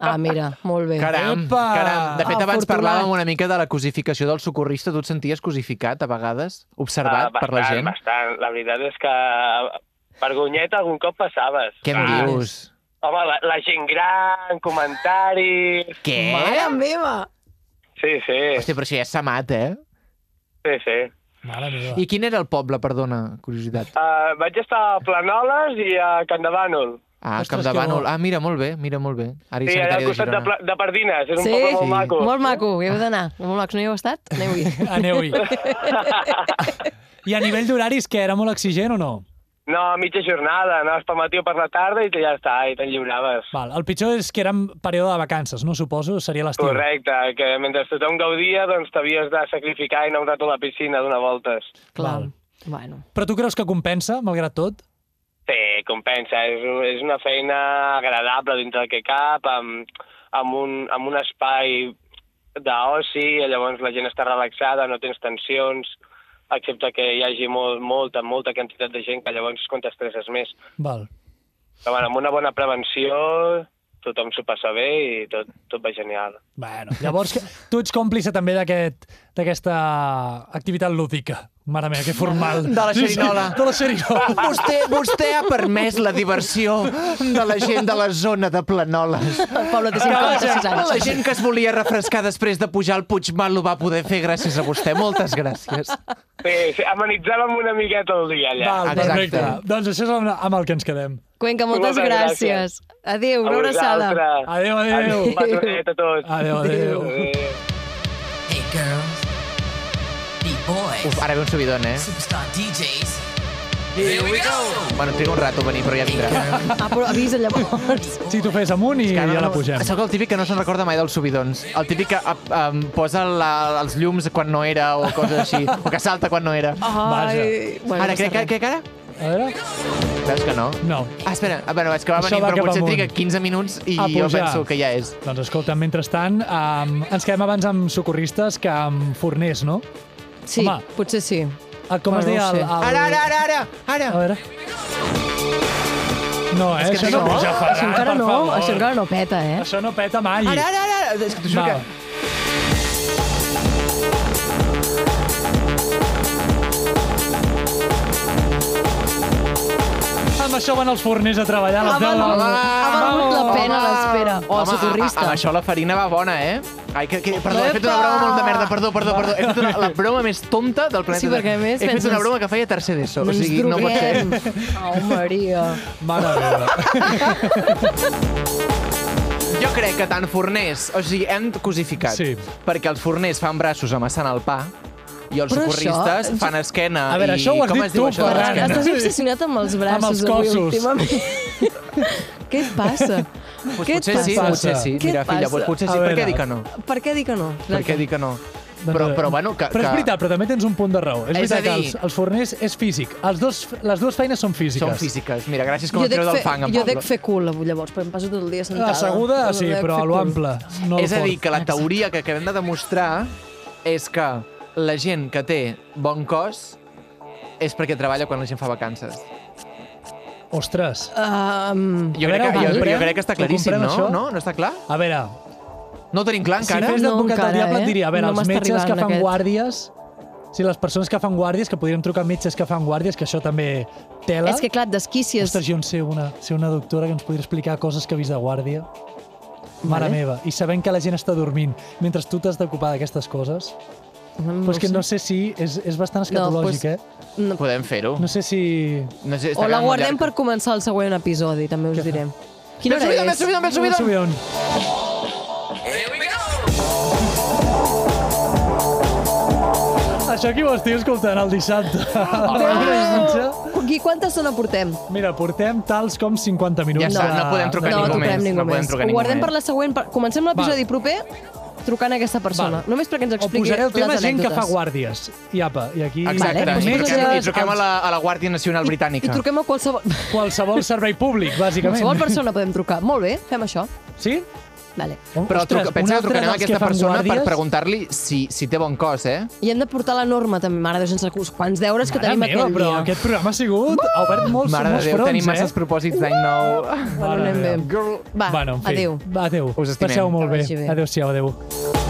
Ah, mira, molt bé.
Caram,
Epa!
caram. De fet, abans
Afortunat.
parlàvem una mica de la cosificació del socorrista. Tu et senties cosificat, a vegades? Observat
Ah,
Ah,
bastant,
per la gent?
Bastant. La veritat és que vergonyeta algun cop passaves.
Què em
Ah.
dius?
Home, la, la gent gran, comentaris...
Què?
Mare meva!
Sí, sí,
Hòstia, però això ja és samat, eh?
sí, sí.
Mare meva.
I quin era el poble, perdona, curiositat?
Uh, vaig estar a Planoles i a Candabànol.
Ah,
Ostres,
Ostres,
que
Capdavànol.
bo.
Ah, mira, molt bé, mira, molt bé. Ara
Sí, allà
sanitària
al
de
costat de,
Girona.
Pla- de Pardines. És un
Sí,
poble molt
Sí.
maco.
molt maco, hi heu d'anar. Molt maco, no hi heu estat? Aneu-hi.
Aneu-hi. I a nivell d'horaris, que era molt exigent o no?
No, mitja jornada. Anaves pel matí o per la tarda i ja està, i te'n lliuraves.
Val, el pitjor és que era en període de vacances, no? Suposo, seria l'estiu.
Correcte, que mentre tothom gaudia, doncs t'havies de sacrificar i anar un rato a la piscina a donar voltes.
Clar.
Val.
Bueno.
Però tu creus que compensa, malgrat tot?
Sí, compensa. És, és una feina agradable dintre del que cap, amb, amb, un, amb un espai d'oci, llavors la gent està relaxada, no tens tensions, excepte que hi hagi molt, molta, molta quantitat de gent que llavors és quan t'estresses més.
Val.
Però bueno, amb una bona prevenció tothom s'ho passa bé i tot, tot va genial.
Bueno, llavors, que- tu ets còmplice també d'aquest- d'aquesta activitat lúdica. Mare meva, que formal.
De la
Sí, sí,
xerinola.
De la xerinola.
Vostè, vostè ha permès la diversió de la gent de la zona de Planoles.
El poble té
La gent,
56
la
anys.
gent que es volia refrescar després de pujar al Puigmal ho va poder fer gràcies a vostè. Moltes gràcies.
Sí, sí amenitzàvem una miqueta el dia allà.
Val,
Exacte.
perfecte. Doncs això és amb- amb el que ens quedem.
Cuenca, moltes
Moltes
gràcies.
gràcies.
Adéu, una abraçada.
vosaltres.
Adéu, adéu.
Un patronet a tots.
Adéu, adéu.
adéu.
Hey girls, be boys,
Uf, ara ve un subidon, eh?
superstar DJs. Here we go.
Bueno, triga un rato a venir, però ja vindrà.
Ah, però avisa llavors.
Si tu fes amunt i
Que
ja la pugem.
Sóc el típic que no se'n recorda mai dels subidons. El típic que ap, em, posa la, els llums quan no era o coses així. o que salta quan no era.
Ai, bueno,
ara,
no sé
crec, que,
res.
crec que ara...
A veure...
Veus que no?
No.
Ah, espera, ah, bueno, és que va
Això
venir,
va
però
cap
potser
amunt.
triga 15 minuts i
A
jo
pujar.
penso que ja és.
Doncs escolta, mentrestant, um, ens quedem abans amb socorristes que amb forners, no?
Sí,
Home.
potser sí.
Ah, Com
Bueno,
es deia?
no ho
El,
sé.
el...
Ara, ara, ara, ara,
A
ara.
veure... No, eh?
que
Això
no,
no puja Ferran,
Això encara
per
no,
favor.
això encara no peta, eh?
Això no peta mai.
Ara, ara, ara, ara. És que t'ho juro
Va.
que...
Amb això van els forners a treballar a les
Ha
10 de
valgut,
la
ha valgut la pena l'espera. O el
Ah, Home, a- a-
socorrista.
Amb això la farina va bona, eh? Ai, que, que, perdó, he fet una
Epa!
broma molt de merda, perdó, perdó, perdó. He fet una, la broma més tonta del planeta.
Sí, perquè a
Terra.
més
He fet
penses-
una broma que feia tercer d'ESO,
No
o
ens
sigui, no pot ser.
droguem. Au, Maria.
Mare meva.
Jo crec que tant forners, o sigui, hem cosificat.
Sí.
Perquè els forners fan braços amassant el pa, i els
Però
socorristes
això-
fan esquena.
A veure,
i...
això ho has
com
dit
es diu
tu,
això de
Ferran.
Ferran,
l'esquena?
Esquena.
estàs obsessionat amb els braços
Amb els cossos.
avui, últimament. Què et passa?
Pues
Què et
Doncs potser sí,
passa?
potser sí.
Què
Mira,
et
filla,
passa?
pues potser sí.
A
Per
veure. Doncs
què dir que no?
Per què dir que no?
Per què dir que no? Però, però bueno, que...
però és
que-
veritat, però també tens un punt de raó. És,
És a
veritat que
dir-
els, els forners és físic. Els dos, les dues feines són físiques.
Són físiques. Mira, gràcies com
Jo
em treu
dec, fer,
del fang, en
jo
Pablo.
dec fer cul, avui, llavors, perquè em passo tot el dia sentada.
Asseguda, sí,
Dec
però
fer
a
cul.
l'ample. No al
és a
fort.
dir, que la teoria que acabem de demostrar és que la gent que té bon cos és perquè treballa quan la gent fa vacances.
Ostres.
Um,
Jo,
A
crec,
veure,
que,
ho
jo,
comprem?
jo crec que està
Ho
claríssim,
comprem,
no?
això?
No? No està clar?
A veure,
No ho tenim clar
si
encara?
fes
No,
d'advocat al
encara,
diable
eh?
et diria, a veure,
No
els
m'està
metges que
arribant,
fan
aquest.
guàrdies... Si les persones que fan guàrdies, que podríem trucar metges que fan guàrdies, que això també tela...
és que, clar, et desquicies.
Ostres, jo en sé una, sé una doctora que ens podria explicar coses que ha vist de guàrdia. Mare
Vale.
meva, i sabent que la gent està dormint, mentre tu t'has d'ocupar d'aquestes coses,
no
però és
ho
que
sé.
no sé si... És, és bastant escatològic,
doncs-
eh?
No.
Podem fer-ho.
No sé si...
No sé, està
O la
quedant molt
guardem
llarg.
per començar el següent episodi, també us direm. Quina
Més subidon,
hora és?
més subidon, més
Un
subidon!
subidon. Això qui ho estigui escoltant el dissabte? a la diumenge?
I quanta estona portem?
Mira, portem tals com 50 minuts. Ah,
Ja està,
de-
no podem trucar
de-
no,
ningú
truquem
més,
ningú
no podem
més.
trucar
Ho guardem
ningú
per la següent... Per... Comencem l'episodi proper trucant a aquesta persona.
Val.
Només perquè ens
O
expliqui
posaré el tema
les
gent que fa
anècdotes.
guàrdies. I apa, i aquí...
Exacte,
Vale, doncs
i, truquem,
metges,
i truquem a la, a la Guàrdia Nacional
I,
Britànica.
I truquem a qualsevol...
Qualsevol servei públic, bàsicament.
qualsevol persona podem trucar. Molt bé, fem això.
Sí?
Vale.
Però
Ostres,
truca,
un
pensa que
altre
trucarem a
dels que
aquesta
fan
persona per
guàrdies?
preguntar-li si, si té bon cos, eh?
I hem de portar la norma, també. Mare de Déu, sense cus. Quants deures que
Mare
tenim
meva,
aquell
però
dia.
aquest programa ha sigut... Ha obert molts,
Mare de
molts
Déu,
fronts,
tenim masses
eh?
propòsits d'any nou.
Bueno, anem bé.
Girl,
Va,
bueno, en fi.
adéu.
Adéu.
Us estimem.
Passeu molt
Que
bé.
vagi bé.
Adéu-siau, adéu.